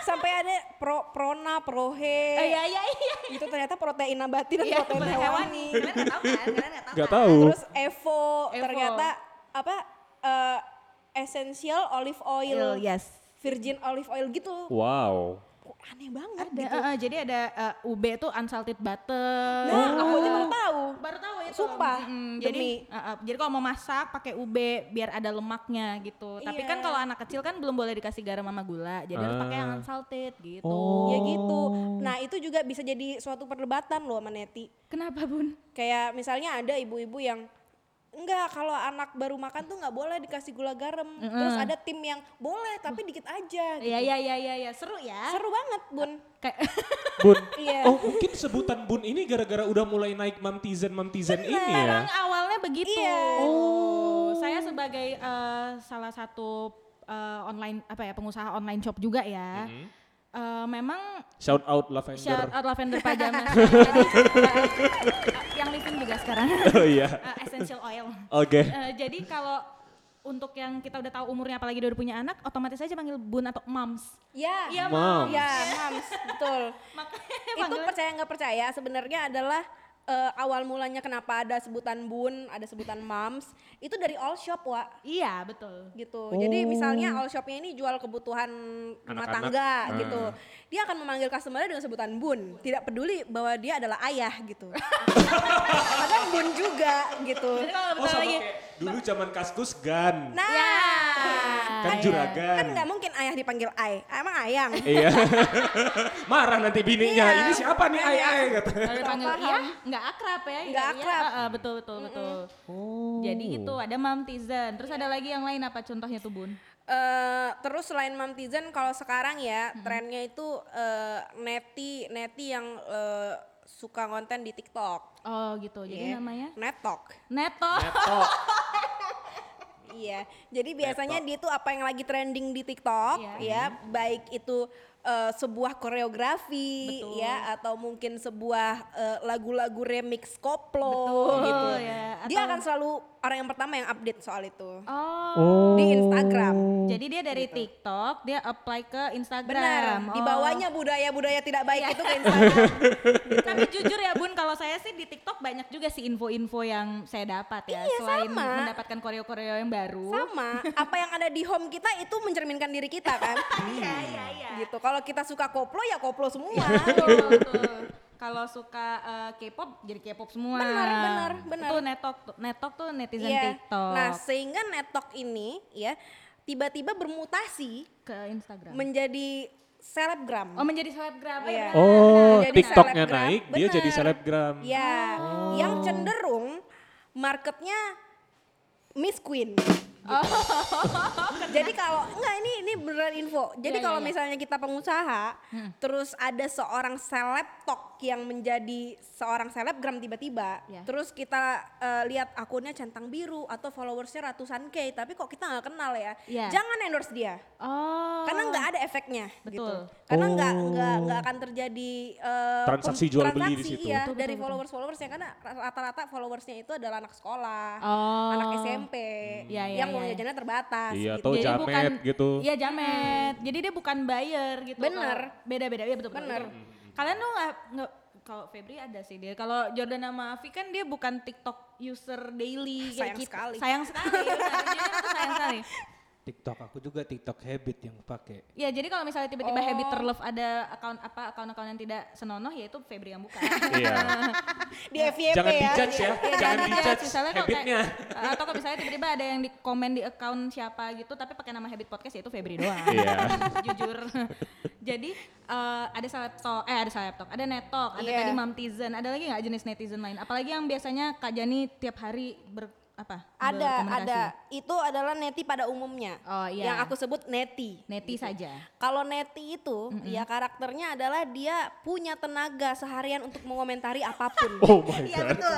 S1: Sampai ada pro prona, prohe.
S2: Eh, iya, iya, iya.
S1: Itu ternyata protein nabati dan
S2: Iya,
S1: protein
S2: protein
S1: hewani.
S2: hewani. Kalian nggak tahu kan? Kalian nggak tahu
S3: Nggak
S2: kan?
S3: tahu.
S1: [laughs] Terus evo,
S2: Evo.
S1: ternyata apa? eh, essential olive oil.
S2: Yes.
S1: Virgin olive oil gitu.
S2: [laughs]
S3: Wow.
S1: Kok aneh banget
S2: Ada,
S1: gitu.
S2: eh, eh, jadi ada eh, ube tuh unsalted butter.
S1: Nah, aku aja
S2: Oh.
S1: baru tahu.
S2: baru tahu itu.
S1: Sumpah,
S2: Mm, jadi
S1: demi.
S2: uh, uh, jadi kalau mau masak pakai ube biar ada lemaknya gitu. Tapi kan
S1: Iya.
S2: kalau anak kecil kan belum boleh dikasih garam sama gula. Jadi harus pakai yang
S3: Ah.
S2: unsalted gitu.
S3: Oh.
S1: Ya gitu. Nah, itu juga bisa jadi suatu perdebatan loh sama Neti.
S2: Kenapa, Bun?
S1: Kayak misalnya ada ibu-ibu yang enggak kalau anak baru makan tuh nggak boleh dikasih gula garam. Terus ada tim yang boleh tapi dikit aja. gitu.
S2: Iya, iya, iya, iya, ya. seru ya.
S1: Seru banget, Bun.
S2: Kayak
S3: Bun.
S1: Iya.
S3: Oh mungkin sebutan bun ini gara-gara udah mulai naik mamtizen mamtizen ini ya.
S2: Memang awalnya begitu. Oh.
S1: Iya. Oh.
S2: Saya sebagai eh, salah satu eh, online apa ya, pengusaha online shop juga ya. Eh, memang
S3: Shout out Mm-hmm. Lavender.
S2: Shout out Lavender Pajamas. Jadi, eh, yang living juga sekarang.
S3: [laughs]
S2: [laughs]
S3: Oh iya.
S2: Eh, essential oil.
S3: Oke.
S2: Eh, jadi kalau untuk yang kita udah tahu umurnya apalagi udah punya anak, otomatis aja panggil bun atau moms.
S1: Ya.
S2: Iya,
S3: Mom.
S1: Ya, Mams, betul.
S2: Makanya
S1: Itu percaya nggak percaya sebenarnya adalah eh, awal mulanya kenapa ada sebutan bun, ada sebutan mams, itu dari all shop, Wak.
S2: Iya, betul.
S1: gitu. Jadi misalnya all shopnya ini jual kebutuhan rumah
S3: Anak-anak.
S1: tangga
S3: Ah.
S1: gitu, dia akan memanggil customer dengan sebutan bun, tidak peduli bahwa dia adalah ayah
S3: [laughs]
S1: gitu. Padahal bun juga gitu.
S2: Jadi kalau
S3: Oh
S2: bentar
S3: sama
S2: lagi.
S3: kayak dulu zaman kaskus gan.
S1: Nah,
S2: Ya.
S3: kan juragan.
S1: kan nggak mungkin ayah dipanggil ay, emang
S3: [laughs]
S1: ayang.
S3: Iya. Marah nanti
S1: Iya.
S3: bininya. Ya, Ini siapa nih ai ai kata.
S2: Kalau dipanggil
S1: Nggak
S2: iya,
S1: paham.
S2: nggak akrab ya. iya,
S1: Nggak
S2: iya,
S1: akrab.
S2: eh, eh, betul, betul, betul. Jadi itu ada mamtizen. Terus ada lagi yang lain apa contohnya tuh bun?
S1: Eh, terus selain mamtizen kalau sekarang ya
S2: Hmm.
S1: trennya itu eh, neti neti yang eh, suka konten di TikTok.
S2: Oh gitu, jadi
S1: ya.
S2: namanya
S1: Netok.
S2: Neto.
S1: Iya, jadi biasanya dia tuh apa yang lagi trending di TikTok,
S2: Iya.
S1: ya, baik itu eh, sebuah koreografi,
S2: Betul.
S1: ya, atau mungkin sebuah eh, lagu-lagu remix koplo,
S2: Betul,
S1: gitu.
S2: ya,
S1: Dia
S2: atau-
S1: akan selalu orang yang pertama yang update soal itu
S2: Oh.
S1: di Instagram.
S2: Jadi dia dari TikTok, dia apply ke
S1: Benar,
S2: Instagram.
S1: di
S2: Oh. Iya.
S1: bawahnya budaya-budaya tidak baik itu ke
S2: [laughs]
S1: Instagram.
S2: Tapi jujur ya Bun, kalau saya sih di TikTok banyak juga sih info-info yang saya dapat ya.
S1: Iya,
S2: Selain
S1: sama.
S2: mendapatkan koreo-koreo yang baru.
S1: Sama, apa yang ada di home kita itu mencerminkan diri kita kan.
S2: Iya, iya, iya.
S1: gitu. Kalau kalau kita suka koplo ya koplo semua.
S2: Betul, betul. Kalau suka eh, K-pop jadi K-pop semua.
S1: Benar, benar, benar.
S2: Itu netok, tuh- netok tuh netizen
S1: Iya.
S2: TikTok
S1: Nah, sehingga netok ini ya tiba-tiba bermutasi
S2: ke Instagram.
S1: menjadi selebgram.
S2: Iya. oh menjadi selebgram. Eh,
S1: Iya.
S2: benar,
S3: Oh,
S1: Jadi
S3: TikToknya
S1: selebgram,
S3: naik, dia jadi
S1: bener.
S3: selebgram.
S2: Iya.
S1: Ya,
S2: Oh.
S1: yang cenderung marketnya Miss Queen.
S2: Oh.
S1: [laughs] Jadi kalau enggak ini ini beneran info. Jadi
S2: Iya, iya,
S1: kalau
S2: iya. Hmm.
S1: misalnya kita pengusaha, terus ada seorang seleb tok yang menjadi seorang selebgram tiba-tiba,
S2: Iya.
S1: terus kita eh, lihat akunnya centang biru atau followersnya ratusan k, tapi kok kita nggak kenal ya?
S2: Iya.
S1: Jangan endorse dia
S2: Oh.
S1: karena nggak ada efeknya gitu
S2: Betul.
S1: karena nggak
S3: Oh.
S1: nggak nggak akan terjadi eh,
S3: Transaksi
S1: pem-
S3: jual beli di
S1: transaksi,
S3: situ.
S1: iya,
S2: Betul, betul,
S1: dari
S2: betul.
S1: followers followersnya karena rata-rata followersnya itu adalah anak sekolah
S2: Oh.
S1: anak SMP
S2: Iya, iya,
S1: yang uang
S2: iya.
S1: jajannya terbatas
S3: Iya,
S1: gitu.
S3: atau jamet gitu.
S2: Iya jamet. Jadi dia bukan buyer gitu.
S1: Bener.
S2: Kalau Beda-beda ya betul. betul,
S1: Bener.
S2: betul. Kalian tuh nggak nggak kalau Febri ada sih dia. Kalau Jordan sama Afi kan dia bukan TikTok user
S1: Ah,
S2: daily gitu.
S1: Sayang sekali.
S2: Sayang sekali.
S1: [laughs]
S2: Seharusnya kan tuh sayang sekali.
S4: TikTok aku juga TikTok habit yang pakai.
S2: Ya jadi kalau misalnya
S1: Oh.
S2: tiba-tiba habit terlove ada account apa account-account yang tidak senonoh ya itu Febri yang
S1: [laughs]
S2: buka. [laughs]
S3: Iya.
S1: di FYP
S3: Jangan
S1: ya,
S3: dijudge ya,
S1: Iya.
S3: jangan
S2: Misalnya
S3: dijudge
S2: Eh, misalnya kalau kayak- eh,
S3: habitnya.
S2: atau kalau misalnya tiba-tiba ada yang di komen di account siapa gitu tapi pakai nama habit podcast ya itu Febri doang.
S3: [laughs] Iya.
S2: [laughs] Jujur. Jadi eh, ada selebtok, eh ada selebtok, ada netok, ada
S1: Iya.
S2: tadi mamtizen, ada lagi nggak jenis netizen lain? Apalagi yang biasanya Kak Jani tiap hari ber apa?
S1: ada
S2: berkomunikasi?
S1: ada itu adalah neti pada umumnya
S2: Oh, iya.
S1: yang aku sebut neti
S2: Neti saja.
S1: kalau neti itu ya karakternya adalah dia punya tenaga seharian untuk mengomentari apapun
S3: Oh my
S2: Iya
S3: god.
S2: betul.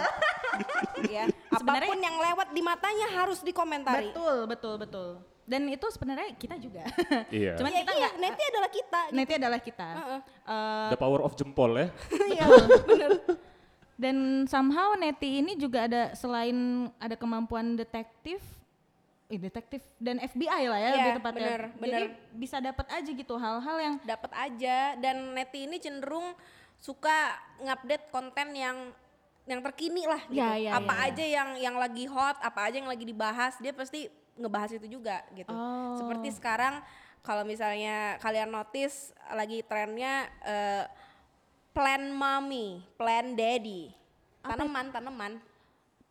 S1: ya
S2: Sebenarnya-
S1: apapun yang lewat di matanya harus dikomentari
S2: [laughs] betul, betul, betul. Dan itu sebenarnya kita juga. [laughs]
S3: Iya.
S2: Cuman
S1: Iya,
S2: kita
S1: iya,
S2: nggak.
S1: neti adalah kita. gitu.
S2: Neti ya, adalah kita. Eh,
S3: The power of jempol ya.
S2: [laughs] Iya, Dan somehow Neti ini juga ada selain ada kemampuan detektif, eh, detektif dan FBI lah ya
S1: Iya,
S2: lebih tepatnya.
S1: bener,
S2: Jadi
S1: bener.
S2: bisa dapat aja gitu hal-hal yang
S1: Dapat aja dan Neti ini cenderung suka ngupdate konten yang yang terkini lah gitu.
S2: Ya, ya,
S1: apa
S2: ya, ya.
S1: aja yang yang lagi hot, apa aja yang lagi dibahas, dia pasti ngebahas itu juga gitu.
S2: Oh.
S1: Seperti sekarang kalau misalnya kalian notice lagi trennya eh, plan mommy, plan daddy. Tanaman, tanaman.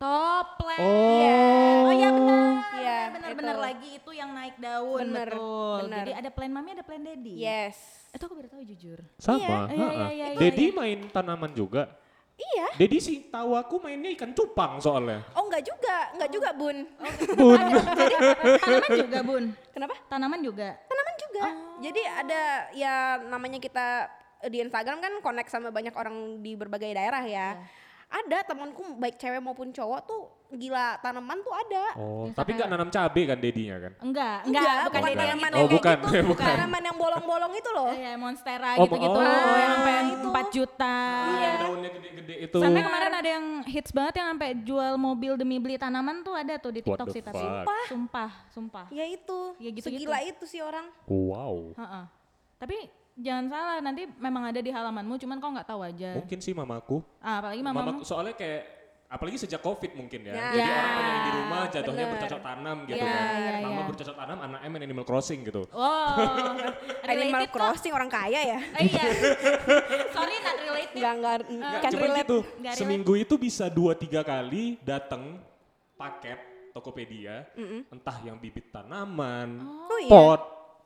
S2: toples.
S1: Oh.
S2: Oh iya benar.
S1: Iya,
S2: benar
S1: itu.
S2: benar lagi itu yang naik daun
S1: Bener,
S2: betul.
S1: bener.
S2: Jadi ada plan mami ada plan daddy.
S1: Yes.
S2: Itu aku baru tahu jujur.
S3: Sama.
S2: Iya, iya,
S3: heeh.
S2: iya, iya,
S3: Dedi main tanaman juga.
S1: Iya.
S3: Dedi sih tahu aku mainnya ikan cupang soalnya.
S1: Oh enggak juga, enggak juga [laughs] Bun.
S2: Tanaman juga, Bun.
S1: Kenapa?
S2: Tanaman juga.
S1: tanaman juga. Jadi ada ya namanya kita eh, di Instagram kan connect sama banyak orang di berbagai daerah ya. Ada temanku baik cewek maupun cowok tuh gila tanaman tuh ada.
S3: Oh,
S2: Iya,
S3: tapi nggak nanam cabe kan dedinya kan?
S2: Enggak, enggak,
S1: Enggak, bukan,
S2: Dedi yang
S1: tanaman
S2: itu.
S3: Oh,
S1: yang kayak
S3: bukan,
S1: gitu,
S3: bukan.
S1: tanaman yang bolong-bolong itu loh.
S2: Iya, monstera
S3: Oh,
S2: gitu-gitu
S3: oh.
S2: loh, yang sampai
S1: Ah, itu.
S2: 4 juta.
S1: Iya.
S3: Yang daunnya gede-gede itu.
S2: Sampai kemarin ada yang hits banget yang sampai jual mobil demi beli tanaman tuh ada tuh di
S3: What
S2: TikTok
S3: the
S2: sih tapi
S3: fuck?
S2: sumpah, sumpah, sumpah.
S1: Ya itu,
S2: Ya gitu-gitu.
S1: segila itu sih orang.
S3: Wow.
S2: Heeh. Tapi jangan salah nanti memang ada di halamanmu cuman kau nggak tahu aja.
S3: Mungkin sih mamaku.
S2: Ah, apalagi mamamu.
S3: Mamaku soalnya kayak apalagi sejak covid mungkin ya.
S1: Ya.
S3: Jadi
S2: Ya,
S3: orang banyak yang di rumah jatuhnya
S1: bener.
S3: bercocok tanam gitu
S2: Ya,
S3: kan.
S2: ya,
S3: Mama
S2: ya.
S3: bercocok tanam, anaknya main Animal Crossing gitu.
S1: [laughs]
S2: Oh,
S1: Animal
S2: related kok.
S1: Crossing orang kaya ya.
S2: Eh,
S1: [laughs]
S2: iya. Sorry not
S3: Iya.
S2: related.
S1: Enggak enggak
S3: Nggak,
S1: kan
S3: cuman
S1: relate.
S3: gitu.
S2: Nggak relate.
S3: Seminggu itu bisa dua tiga kali datang paket Tokopedia, entah yang bibit tanaman,
S1: Oh iya.
S3: pot,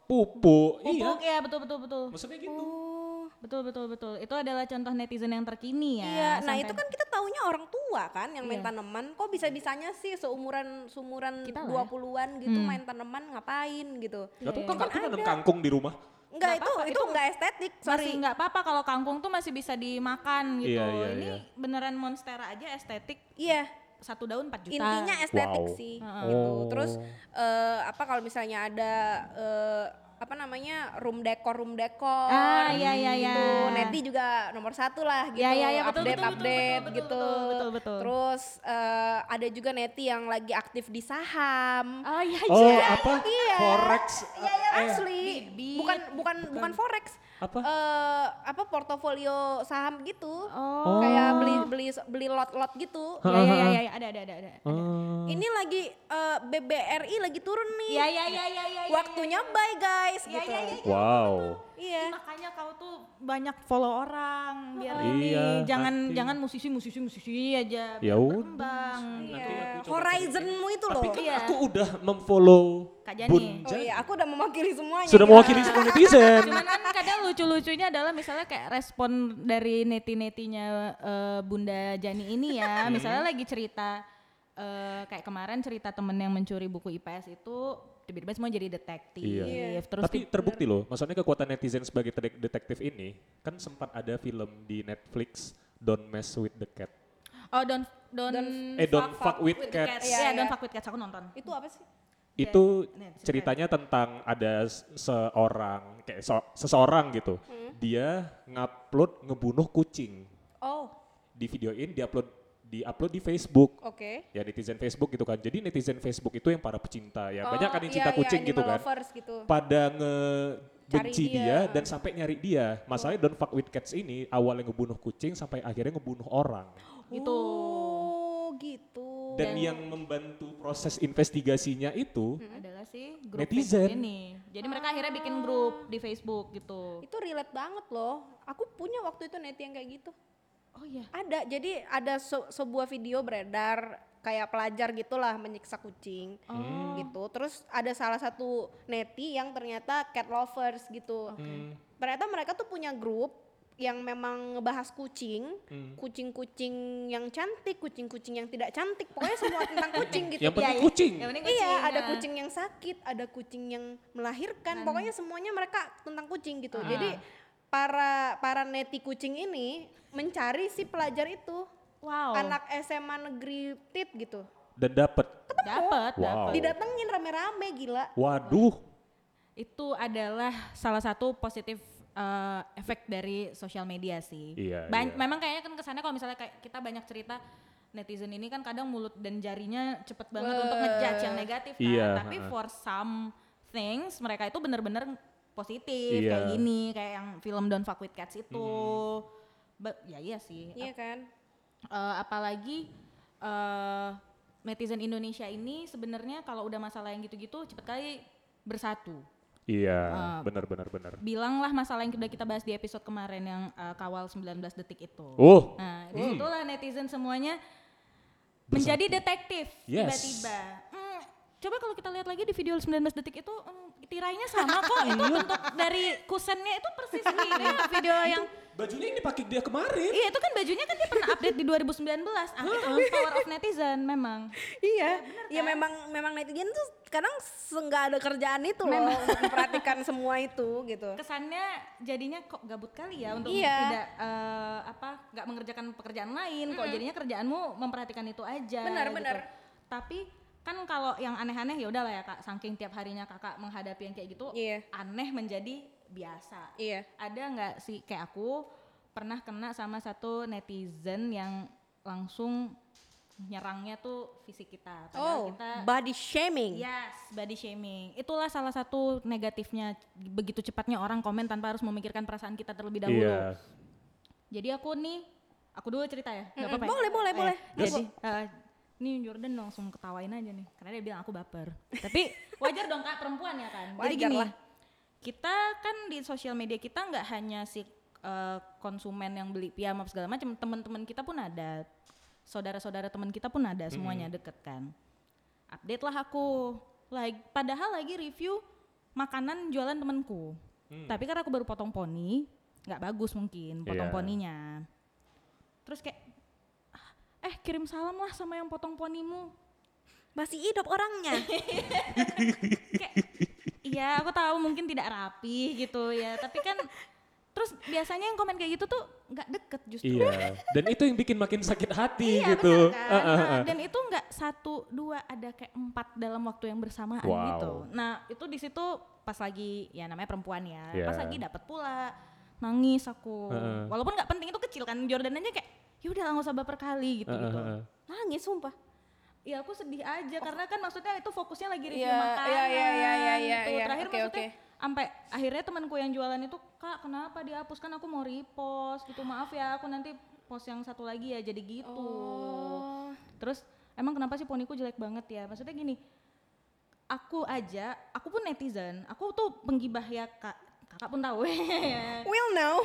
S3: pupuk,
S2: Pupuk ya,
S3: iya.
S2: betul betul betul.
S3: Maksudnya gitu.
S1: Oh,
S2: Betul betul betul. Itu adalah contoh netizen yang terkini ya.
S1: Iya, nah
S2: sampai-
S1: itu kan kita taunya orang tua kan yang main
S2: Iya.
S1: tanaman. Kok bisa-bisanya sih seumuran seumuran
S2: Kita lah. ya. Hmm.
S1: 20-an gitu main tanaman ngapain gitu.
S3: Gak tuh
S2: Iya,
S3: kok
S1: iya.
S3: aku
S1: Kan
S3: nanam
S1: ada.
S3: kangkung di rumah.
S1: Enggak
S2: Nggak
S1: itu,
S2: apa-apa,
S1: itu
S2: itu
S1: enggak estetik, sorry.
S2: masih nggak apa-apa kalau kangkung tuh masih bisa dimakan gitu.
S3: Iya, iya,
S2: ini
S3: iya.
S2: beneran monstera aja estetik
S1: Iya,
S2: satu daun 4 juta.
S1: intinya estetik
S3: Wow.
S1: sih
S3: Heeh.
S1: gitu.
S3: Oh.
S1: Terus eh, apa kalau misalnya ada eh, apa namanya room decor room decor
S2: Ah, iya, iya, iya.
S1: gitu Neti juga nomor satu lah gitu
S2: Iya, iya, iya, betul,
S1: update
S2: betul, betul,
S1: update
S2: betul, betul,
S1: gitu
S2: betul, betul, betul.
S1: terus eh, ada juga Neti yang lagi aktif di saham
S2: Oh iya.
S3: Oh
S2: iya.
S3: apa?
S1: iya.
S3: Forex.
S1: Iya, iya,
S3: eh,
S1: asli.
S2: Bibit.
S1: Bukan bukan bukan forex.
S3: Apa?
S1: eh, apa portofolio saham gitu.
S2: Oh.
S1: Kayak beli beli beli lot-lot gitu.
S3: Oh.
S2: Ya ya ya ya, ya, ada ada ada ada.
S3: Eh,
S1: Ini lagi eh, BBRI lagi turun nih.
S2: Ya ya ya ya ya. ya,
S1: Waktunya bye guys
S2: Ya,
S1: gitu.
S2: ya, ya,
S3: wow.
S1: Iya.
S2: ya. Makanya kau tuh banyak follow orang biar
S3: Iya,
S2: ini jangan
S3: nanti.
S2: jangan musisi musisi musisi aja.
S3: Ya
S2: biar
S3: udah.
S2: berkembang.
S1: Iya. Horizonmu itu loh.
S3: Tapi kan
S2: Iya.
S3: aku udah memfollow
S2: Kak Jani.
S3: Bun
S1: Oh
S3: Jani.
S1: iya, aku udah mewakili semuanya.
S3: Sudah
S1: gitu.
S3: mewakili semua netizen.
S2: Cuman kan kadang lucu-lucunya adalah misalnya kayak respon dari neti-netinya eh, Bunda Jani ini
S3: [laughs]
S2: ya. misalnya lagi cerita eh, kayak kemarin cerita temen yang mencuri buku IPS itu tiba-tiba semua jadi detektif.
S3: Iya.
S2: Terus
S3: Tapi terbukti loh, maksudnya kekuatan netizen sebagai tedek- detektif ini kan sempat ada film di Netflix Don't Mess with the Cat.
S2: oh don't don't,
S3: Eh Don't Fuck, with, Cats.
S1: Iya,
S2: Iya, don't
S1: iya.
S2: fuck with cats aku nonton.
S1: Itu apa sih? Iya,
S3: Itu ceritanya tentang ada s- seorang kayak so- seseorang gitu.
S1: Hmm.
S3: Dia ngupload ngebunuh kucing.
S1: Oh,
S3: Di videoin, diupload diupload di Facebook.
S1: oke.
S3: ya netizen Facebook gitu kan. Jadi netizen Facebook itu yang para pecinta ya.
S1: Oh,
S3: Banyak kan yang
S1: iya,
S3: cinta
S1: iya,
S3: kucing gitu
S1: animal
S3: kan.
S1: Lovers gitu.
S3: Pada ngebenci
S1: Cari
S3: dia.
S1: dia. Oh.
S3: dan sampai nyari dia. Masalahnya Don't Fuck With Cats ini awalnya ngebunuh kucing sampai akhirnya ngebunuh orang.
S2: Gitu.
S1: Oh, gitu.
S3: Dan yang membantu proses investigasinya itu
S1: Hmm.
S2: Adalah sih grup
S3: Netizen.
S2: Facebook ini. Jadi mereka akhirnya bikin grup di Facebook gitu.
S1: itu relate banget loh. Aku punya waktu itu neti yang kayak gitu.
S2: Oh iya.
S1: Ada, jadi ada se- sebuah video beredar kayak pelajar gitulah menyiksa kucing
S3: Hmm.
S1: gitu. Terus ada salah satu neti yang ternyata cat lovers gitu.
S3: Hmm.
S1: Ternyata mereka tuh punya grup yang memang ngebahas kucing,
S3: Hmm.
S1: kucing-kucing yang cantik, kucing-kucing yang tidak cantik, pokoknya semua tentang
S3: [laughs]
S1: kucing gitu.
S3: yang penting
S2: iya.
S3: kucing.
S2: Yang penting
S1: Iya,
S2: kucing,
S1: ada
S2: nah.
S1: kucing Nah, yang sakit, ada kucing yang melahirkan. Pokoknya semuanya mereka tentang kucing gitu. Jadi para para neti kucing ini mencari si pelajar itu.
S2: Wow.
S1: Anak SMA negeri TIT gitu.
S3: Dan dapat.
S2: Dapat,
S3: Wow.
S2: dapat.
S1: Didatengin rame-rame gila.
S3: Waduh.
S2: itu adalah salah satu positif eh, efek dari sosial media sih.
S3: Iya,
S2: Ban-
S3: iya.
S2: Memang kayaknya kan kesannya kalau misalnya kayak kita banyak cerita netizen ini kan kadang mulut dan jarinya cepet banget untuk ngejudge yang negatif kan.
S3: Iya,
S2: Tapi
S3: ha-ha.
S2: for some things mereka itu bener-bener positif
S3: Iya. Hmm.
S2: kayak gini kayak yang film Don't Fuck With Cats itu. Ba- ya iya sih.
S1: Iya kan?
S2: Eh, apalagi eh netizen Indonesia ini sebenarnya kalau udah masalah yang gitu-gitu cepet kali bersatu
S3: Iya,
S1: Ah.
S3: benar benar benar.
S2: bilanglah masalah yang udah kita bahas di episode kemarin yang eh, kawal 19 detik itu.
S3: Oh,
S2: Nah, disitulah netizen semuanya menjadi detektif
S3: Yes.
S2: tiba-tiba. Hmm, coba kalau kita lihat lagi di video 19 detik itu hmm, tirainya sama [laughs] kok itu bentuk dari kusennya [laughs] itu persis nih Ini video yang
S3: bajunya yang dipakai dia kemarin.
S2: iya itu kan bajunya kan dia pernah update di 2019. Ah, itu [laughs] power of netizen memang.
S1: Iya. Ya memang memang netizen tuh kadang se- nggak ada kerjaan itu loh untuk [laughs] memperhatikan semua itu gitu.
S2: kesannya jadinya kok gabut kali ya untuk
S1: Iya.
S2: tidak eh, apa nggak mengerjakan pekerjaan lain kok jadinya kerjaanmu memperhatikan itu aja
S1: Benar,
S2: gitu.
S1: benar.
S2: tapi kan kalau yang aneh-aneh ya udahlah ya kak saking tiap harinya kakak menghadapi yang kayak gitu
S1: Iya.
S2: aneh menjadi biasa
S1: Iya.
S2: ada nggak sih kayak aku pernah kena sama satu netizen yang langsung nyerangnya tuh fisik kita
S1: Oh,
S2: padahal kita
S1: body shaming.
S2: Yes, body shaming. Itulah salah satu negatifnya begitu cepatnya orang komen tanpa harus memikirkan perasaan kita terlebih dahulu.
S3: Iya.
S2: Jadi aku nih, aku dulu cerita ya, nggak
S1: Mm-mm.
S2: apa-apa. ya?
S1: Boleh, boleh,
S2: Eh,
S1: boleh.
S2: Jadi, eh, nih Jordan langsung ketawain aja nih, karena dia bilang aku baper. Tapi wajar dong kak, perempuan ya kan. Jadi
S1: Wajar
S2: gini,
S1: lah.
S2: kita kan di sosial media kita nggak hanya si eh, konsumen yang beli piyama segala macam, teman-teman kita pun ada, saudara-saudara teman kita pun ada, semuanya deket kan. Update lah aku, like padahal lagi review makanan jualan temanku. Tapi karena aku baru potong poni, nggak bagus mungkin potong
S3: Hmm. Iya.
S2: poninya terus kayak "Ah, eh kirim salam lah sama yang potong
S3: [laughs]
S2: ponimu
S1: Masih hidup orangnya.
S2: iya aku tahu mungkin tidak rapi gitu ya tapi kan terus biasanya yang komen kayak gitu tuh nggak deket justru
S3: Iya. Dan itu yang bikin makin sakit
S1: Iya,
S3: hati gitu.
S2: kan?
S3: Ah, ah, ah.
S2: dan itu nggak satu dua ada kayak empat dalam waktu yang bersamaan
S3: Wow.
S2: gitu nah itu di situ pas lagi ya namanya perempuan ya
S3: Iya.
S2: pas lagi dapat pula nangis aku
S3: Heeh.
S2: walaupun nggak penting itu kecil kan Jordan aja kayak ya udah nggak usah baper kali gitu gitu
S3: Ah, ah, ah.
S1: [laughs] Nangis sumpah.
S2: Ya aku sedih aja karena kan maksudnya itu fokusnya lagi review
S1: Iya,
S2: makanan.
S1: iya, iya, iya, iya,
S2: gitu.
S1: iya,
S2: Terakhir
S1: oke,
S2: maksudnya
S1: oke.
S2: sampai akhirnya temanku yang jualan itu kak kenapa dihapus kan aku mau repost gitu maaf ya aku nanti post yang satu lagi ya jadi gitu
S1: Oh.
S2: terus emang kenapa sih poniku jelek banget ya maksudnya gini aku aja aku pun netizen aku tuh penggibah ya kak kakak pun tahu [laughs]
S1: We'll know.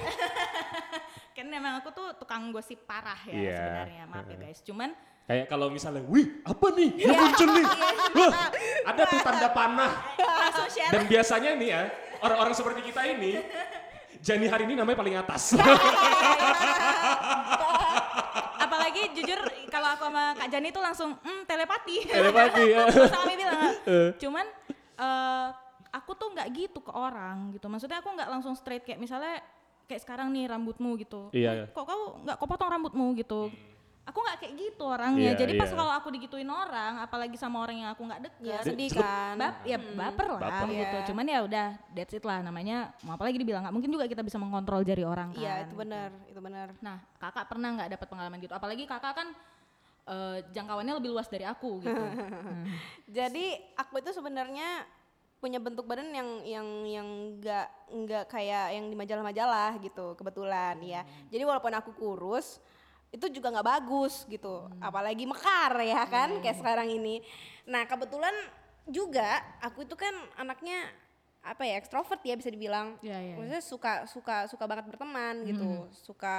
S2: kan emang aku tuh tukang gosip parah ya
S3: Iya.
S2: sebenarnya maaf ya
S3: Heeh.
S2: guys
S3: [laughs]
S2: cuman
S3: Kayak kalau misalnya, wih apa nih? Dia
S1: Iya.
S3: muncul nih. Wah,
S2: [laughs]
S3: ada tuh tanda panah.
S2: langsung share
S3: Dan biasanya nih ya, orang-orang seperti kita ini, Jani hari ini namanya paling atas.
S2: apalagi jujur kalau aku sama Kak Jani tuh langsung "Hmm, telepati.
S3: Telepati, ya.
S2: Terus sama Mimi
S3: [laughs]
S2: bilang, cuman eh, aku tuh nggak gitu ke orang gitu. Maksudnya aku nggak langsung straight kayak misalnya kayak sekarang nih rambutmu gitu.
S3: Iya. Hmm.
S2: Kok kau nggak kau potong rambutmu gitu. Aku nggak kayak gitu orangnya.
S3: Iya,
S2: Jadi pas
S3: iya.
S2: kalau aku digituin orang, apalagi sama orang yang aku nggak
S1: Ya
S2: dekat,
S1: sedih kan.
S2: bap ya baper lah
S3: Baper.
S2: gitu.
S1: Iya.
S2: Cuman ya udah that's it lah namanya. Mau apalagi dibilang nggak mungkin juga kita bisa mengontrol jari orang kan.
S1: Iya itu benar, itu benar.
S2: Nah, kakak pernah nggak dapat pengalaman gitu? Apalagi kakak kan eh, jangkauannya lebih luas dari aku gitu. Hmm.
S1: Jadi aku itu sebenarnya punya bentuk badan yang yang yang nggak nggak kayak yang di majalah-majalah gitu kebetulan ya. Jadi walaupun aku kurus itu juga nggak bagus gitu, apalagi mekar ya kan kayak sekarang ini. Nah kebetulan juga aku itu kan anaknya apa ya ekstrovert ya bisa dibilang.
S2: Iya, iya, iya.
S1: Maksudnya suka suka suka banget berteman gitu,
S2: Hmm.
S1: suka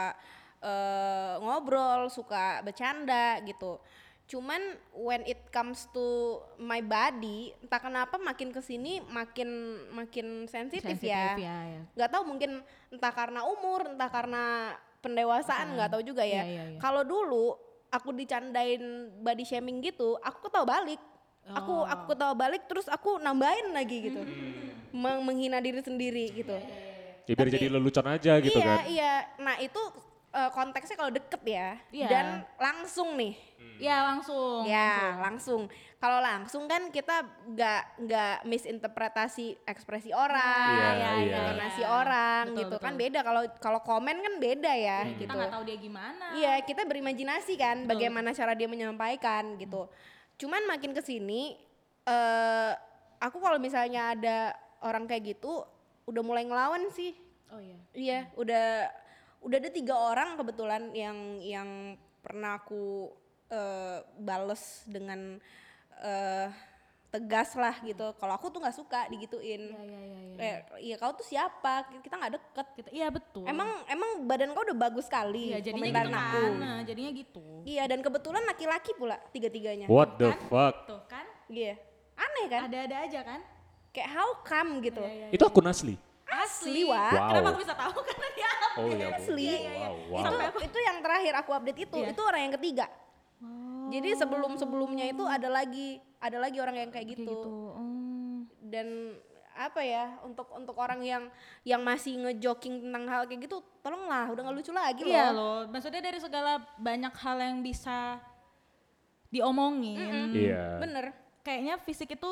S1: eh, ngobrol, suka bercanda gitu. Cuman when it comes to my body, entah kenapa makin kesini makin makin sensitif ya.
S2: ya, ya.
S1: Nggak tahu mungkin entah karena umur, entah karena pendewasaan, nggak tahu juga ya.
S2: Iya, iya, iya.
S1: Kalau dulu aku dicandain body shaming gitu, aku ketawa balik.
S2: Oh.
S1: Aku aku ketawa balik terus aku nambahin lagi gitu.
S2: Hmm.
S1: Meng- menghina diri sendiri gitu.
S2: Iya,
S3: Ya, biar jadi lelucon aja gitu
S1: iya,
S3: kan.
S1: iya. Nah, itu eh, konteksnya kalau deket ya
S2: Iya.
S1: dan langsung nih.
S2: Ya, langsung.
S1: Ya, langsung. Kalau langsung kan kita nggak nggak misinterpretasi ekspresi orang,
S3: Iya, iya.
S1: intonasi orang
S2: Betul,
S1: gitu kan
S2: betul.
S1: beda kalau kalau komen kan beda ya
S3: Hmm.
S2: Kita
S1: gitu.
S2: nggak tahu dia gimana.
S1: Iya, kita berimajinasi kan bagaimana cara dia menyampaikan gitu. Cuman makin ke sini eh aku kalau misalnya ada orang kayak gitu udah mulai ngelawan sih.
S2: Oh iya.
S1: Iya, udah udah ada tiga orang kebetulan yang yang pernah aku eh, bales dengan eh, tegas lah gitu. Kalau aku tuh nggak suka digituin.
S2: Iya, iya, iya. iya.
S1: Eh, Iya, kau tuh siapa? Kita nggak deket.
S2: Kita, iya betul.
S1: Emang emang badan kau udah bagus kali.
S2: Iya, jadinya
S1: komentarin
S2: gitu
S1: aku.
S2: kan. Nah, jadinya gitu.
S1: Iya, dan kebetulan laki-laki pula tiga-tiganya.
S3: What the fuck?
S2: Tuh kan,
S1: Iya. Aneh kan?
S2: ada-ada aja kan?
S1: Kayak how come gitu.
S2: Iya,
S3: Itu akun asli.
S1: Asli, Wak.
S3: Wow.
S2: Kenapa aku bisa tahu [laughs] karena dia update.
S3: Oh iya. Bu.
S1: Asli.
S3: Wow, wow.
S1: Itu itu yang terakhir aku update itu.
S2: Iya.
S1: Itu orang yang ketiga. Jadi sebelum-sebelumnya itu ada lagi ada lagi orang yang kayak
S2: Kayak gitu.
S1: gitu.
S2: Oh.
S1: Dan apa ya untuk untuk orang yang yang masih ngejoking tentang hal kayak gitu tolonglah udah nggak lucu lagi loh.
S2: Iya loh, maksudnya dari segala banyak hal yang bisa diomongin.
S3: Iya.
S1: Bener.
S2: Kayaknya fisik itu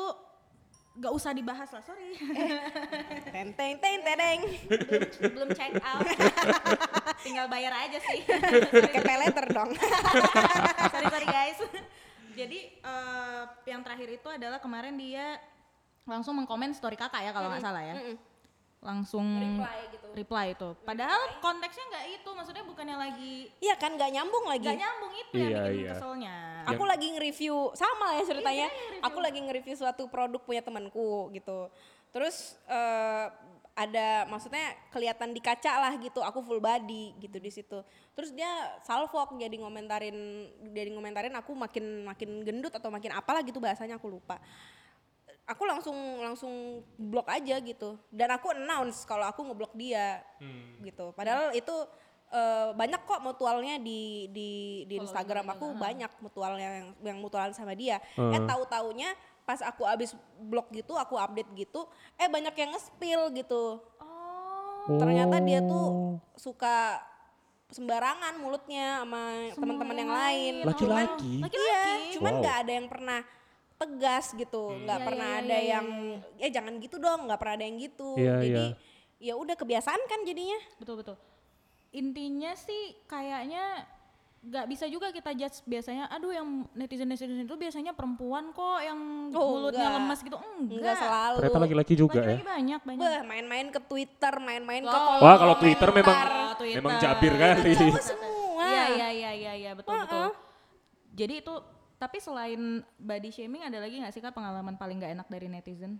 S2: gak usah dibahas lah, sorry.
S1: Teng teng teng teng.
S2: belum, Eh, belum check out. [laughs] Tinggal bayar aja [laughs] sih.
S1: Pakai pay letter
S2: [laughs]
S1: dong.
S2: sorry, sorry guys. Jadi eh, yang terakhir itu adalah kemarin dia langsung mengkomen story kakak ya kalau nggak salah ya. Langsung
S1: Reply gitu.
S2: reply itu. Padahal konteksnya nggak itu, maksudnya bukannya lagi
S1: Iya kan nggak nyambung lagi.
S2: nggak nyambung itu yang
S3: Iya,
S2: bikin
S3: iya.
S2: keselnya.
S1: Aku lagi nge-review sama ya ceritanya. aku lagi nge-review suatu produk punya temanku gitu. Terus eh, ada maksudnya kelihatan di kaca lah gitu. Aku full body gitu di situ. Terus dia salvok jadi ngomentarin jadi ngomentarin aku makin makin gendut atau makin apalah gitu bahasanya aku lupa. Aku langsung langsung blok aja gitu. Dan aku announce kalau aku ngeblok dia gitu. Padahal itu eh, banyak kok mutualnya di di di Instagram aku banyak mutualnya yang yang mutualan sama dia. Eh tahu taunya pas aku abis blog gitu, aku update gitu, eh banyak yang nge-spill gitu.
S2: Oh,
S1: Oh. Ternyata dia
S3: Oh.
S1: tuh suka sembarangan mulutnya sama teman-teman yang lain.
S3: Laki-laki.
S1: Iya, cuman
S3: Wow.
S1: nggak ada yang pernah tegas gitu, nggak
S2: Iya,
S1: pernah
S2: iya,
S1: ada
S2: iya,
S1: yang eh jangan gitu dong, nggak pernah ada yang gitu.
S3: Iya,
S1: Jadi
S3: iya.
S1: ya udah kebiasaan kan jadinya.
S2: Betul betul. Intinya sih kayaknya nggak bisa juga kita judge biasanya aduh yang netizen netizen itu biasanya perempuan kok yang
S1: Oh,
S2: mulutnya
S1: enggak.
S2: lemes gitu enggak,
S1: Enggak selalu.
S3: Ternyata laki-laki juga
S2: lagi
S3: ya.
S2: banyak banyak
S1: Beuh, main-main ke Twitter, main-main ke
S2: Wow.
S1: kolom
S3: Wah kalau Twitter
S1: komentar.
S3: memang
S2: Oh, Twitter.
S3: memang jabir kan kali.
S1: cowok semua.
S2: Iya iya iya iya iya betul betul. Jadi itu tapi selain body shaming ada lagi nggak sih kak pengalaman paling nggak enak dari netizen?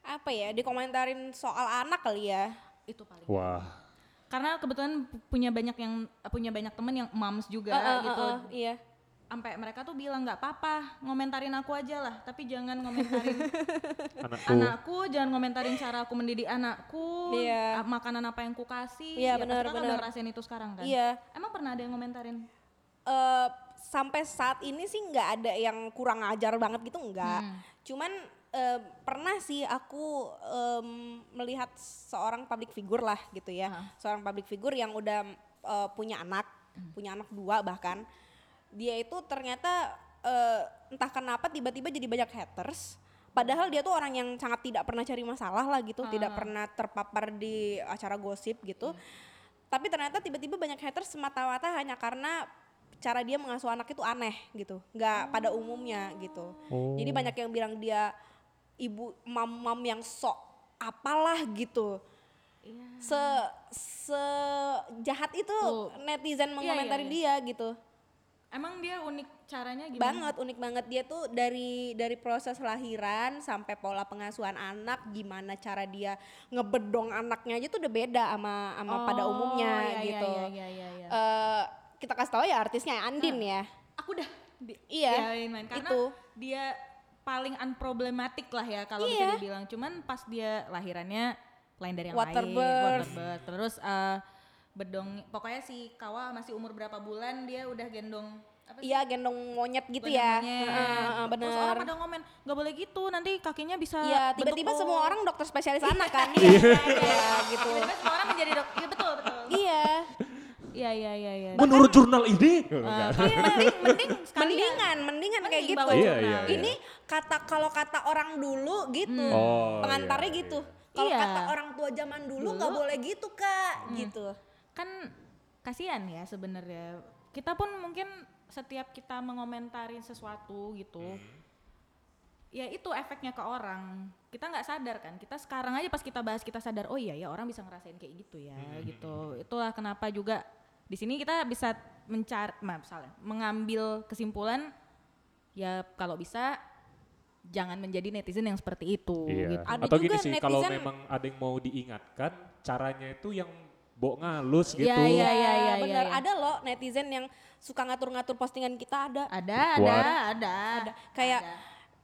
S1: Apa ya, dikomentarin soal anak kali ya.
S2: Itu paling.
S3: Wah
S2: Karena kebetulan pu- punya banyak yang punya banyak temen yang moms juga
S1: Eh, eh, eh,
S2: gitu.
S1: eh, iya.
S2: Sampai mereka tuh bilang nggak apa-apa ngomentarin aku aja lah, tapi jangan ngomentarin
S3: anakku.
S2: anakku, jangan ngomentarin cara aku mendidik anakku,
S1: Iya.
S2: a- makanan apa yang ku kasih.
S1: Iya,
S2: Ya, pasti
S1: benar,
S2: kakak
S1: benar.
S2: ngerasain itu sekarang kan?
S1: Iya.
S2: Emang pernah ada yang ngomentarin?
S1: Eh, sampai saat ini sih nggak ada yang kurang ajar banget gitu nggak. Cuman eh, pernah sih aku em, melihat seorang public figure lah gitu ya, seorang public figure yang udah eh, punya anak, punya anak dua bahkan. Dia itu ternyata eh, entah kenapa tiba-tiba jadi banyak haters. Padahal dia tuh orang yang sangat tidak pernah cari masalah lah gitu, tidak pernah terpapar di acara gosip gitu. Tapi ternyata tiba-tiba banyak haters semata-mata hanya karena cara dia mengasuh anak itu aneh gitu, nggak pada
S2: Oh.
S1: umumnya gitu. Jadi banyak yang bilang dia ibu mam-mam yang sok apalah gitu.
S2: Iya.
S1: Se sejahat itu
S2: Tuh.
S1: netizen mengomentari
S2: iya,
S1: dia gitu.
S2: Emang dia unik caranya gimana?
S1: Banget unik banget dia tuh dari dari proses lahiran sampai pola pengasuhan anak, gimana cara dia ngebedong anaknya aja tuh udah beda sama sama pada
S2: Oh,
S1: umumnya
S2: iya, iya,
S1: gitu.
S2: Iya, iya, iya, iya.
S1: Eh, kita kasih tahu ya artisnya Andin ya.
S2: aku udah di-
S1: Iya,
S2: diayain main karena
S1: itu.
S2: dia paling unproblematik lah ya kalau
S1: Iya.
S2: bisa dibilang. Cuman pas dia lahirannya lain dari yang lain,
S1: Waterbirth.
S2: waterbirth. Terus eh, bedong, pokoknya si Kawa masih umur berapa bulan dia udah gendong apa sih?
S1: Iya gendong monyet gitu
S2: Gendong
S1: ya.
S2: monyet.
S1: Heeh, heeh,
S2: Terus orang
S1: bener.
S2: pada ngomen, nggak boleh gitu nanti kakinya bisa
S1: Iya
S2: bentuk oh.
S1: tiba-tiba
S2: O."
S1: semua orang dokter spesialis
S2: [laughs]
S1: anak kan. Iya iya, gitu.
S2: Tiba-tiba semua orang menjadi dok, iya betul, betul.
S1: Iya.
S2: Iya, iya, iya, iya.
S3: Menurut jurnal
S2: Eh,
S3: ini.
S1: Iya.
S3: Enggak.
S2: mending, mending sekalian.
S1: Mendingan, mendingan kayak
S2: ya. Mending
S1: gitu.
S2: bawa
S3: Iya,
S2: jurnal.
S3: iya, iya.
S1: Ini kata kalau kata orang dulu gitu.
S3: Oh,
S1: Pengantarnya
S3: iya,
S1: gitu.
S3: iya.
S1: Kalau
S2: Hmm. Iya. Hmm.
S1: kata orang tua zaman dulu nggak boleh gitu kak, gitu.
S2: kan kasihan ya sebenarnya kita pun mungkin setiap kita mengomentarin sesuatu gitu ya itu efeknya ke orang kita nggak sadar kan kita sekarang aja pas kita bahas kita sadar oh iya ya orang bisa ngerasain kayak gitu ya gitu itulah kenapa juga di sini kita bisa mencari maaf salah mengambil kesimpulan ya kalau bisa jangan menjadi netizen yang seperti itu
S3: Iya.
S2: gitu.
S1: Ada
S3: Atau
S1: juga
S3: gini sih kalau
S1: netizen-
S3: memang ada yang mau diingatkan caranya itu yang bok ngalus gitu.
S2: Iya, iya, iya, iya, iya,
S1: Ya, Bener
S2: iya.
S1: ada loh netizen yang suka ngatur-ngatur postingan kita ada.
S2: ada ada
S3: What?
S2: ada ada
S1: Kayak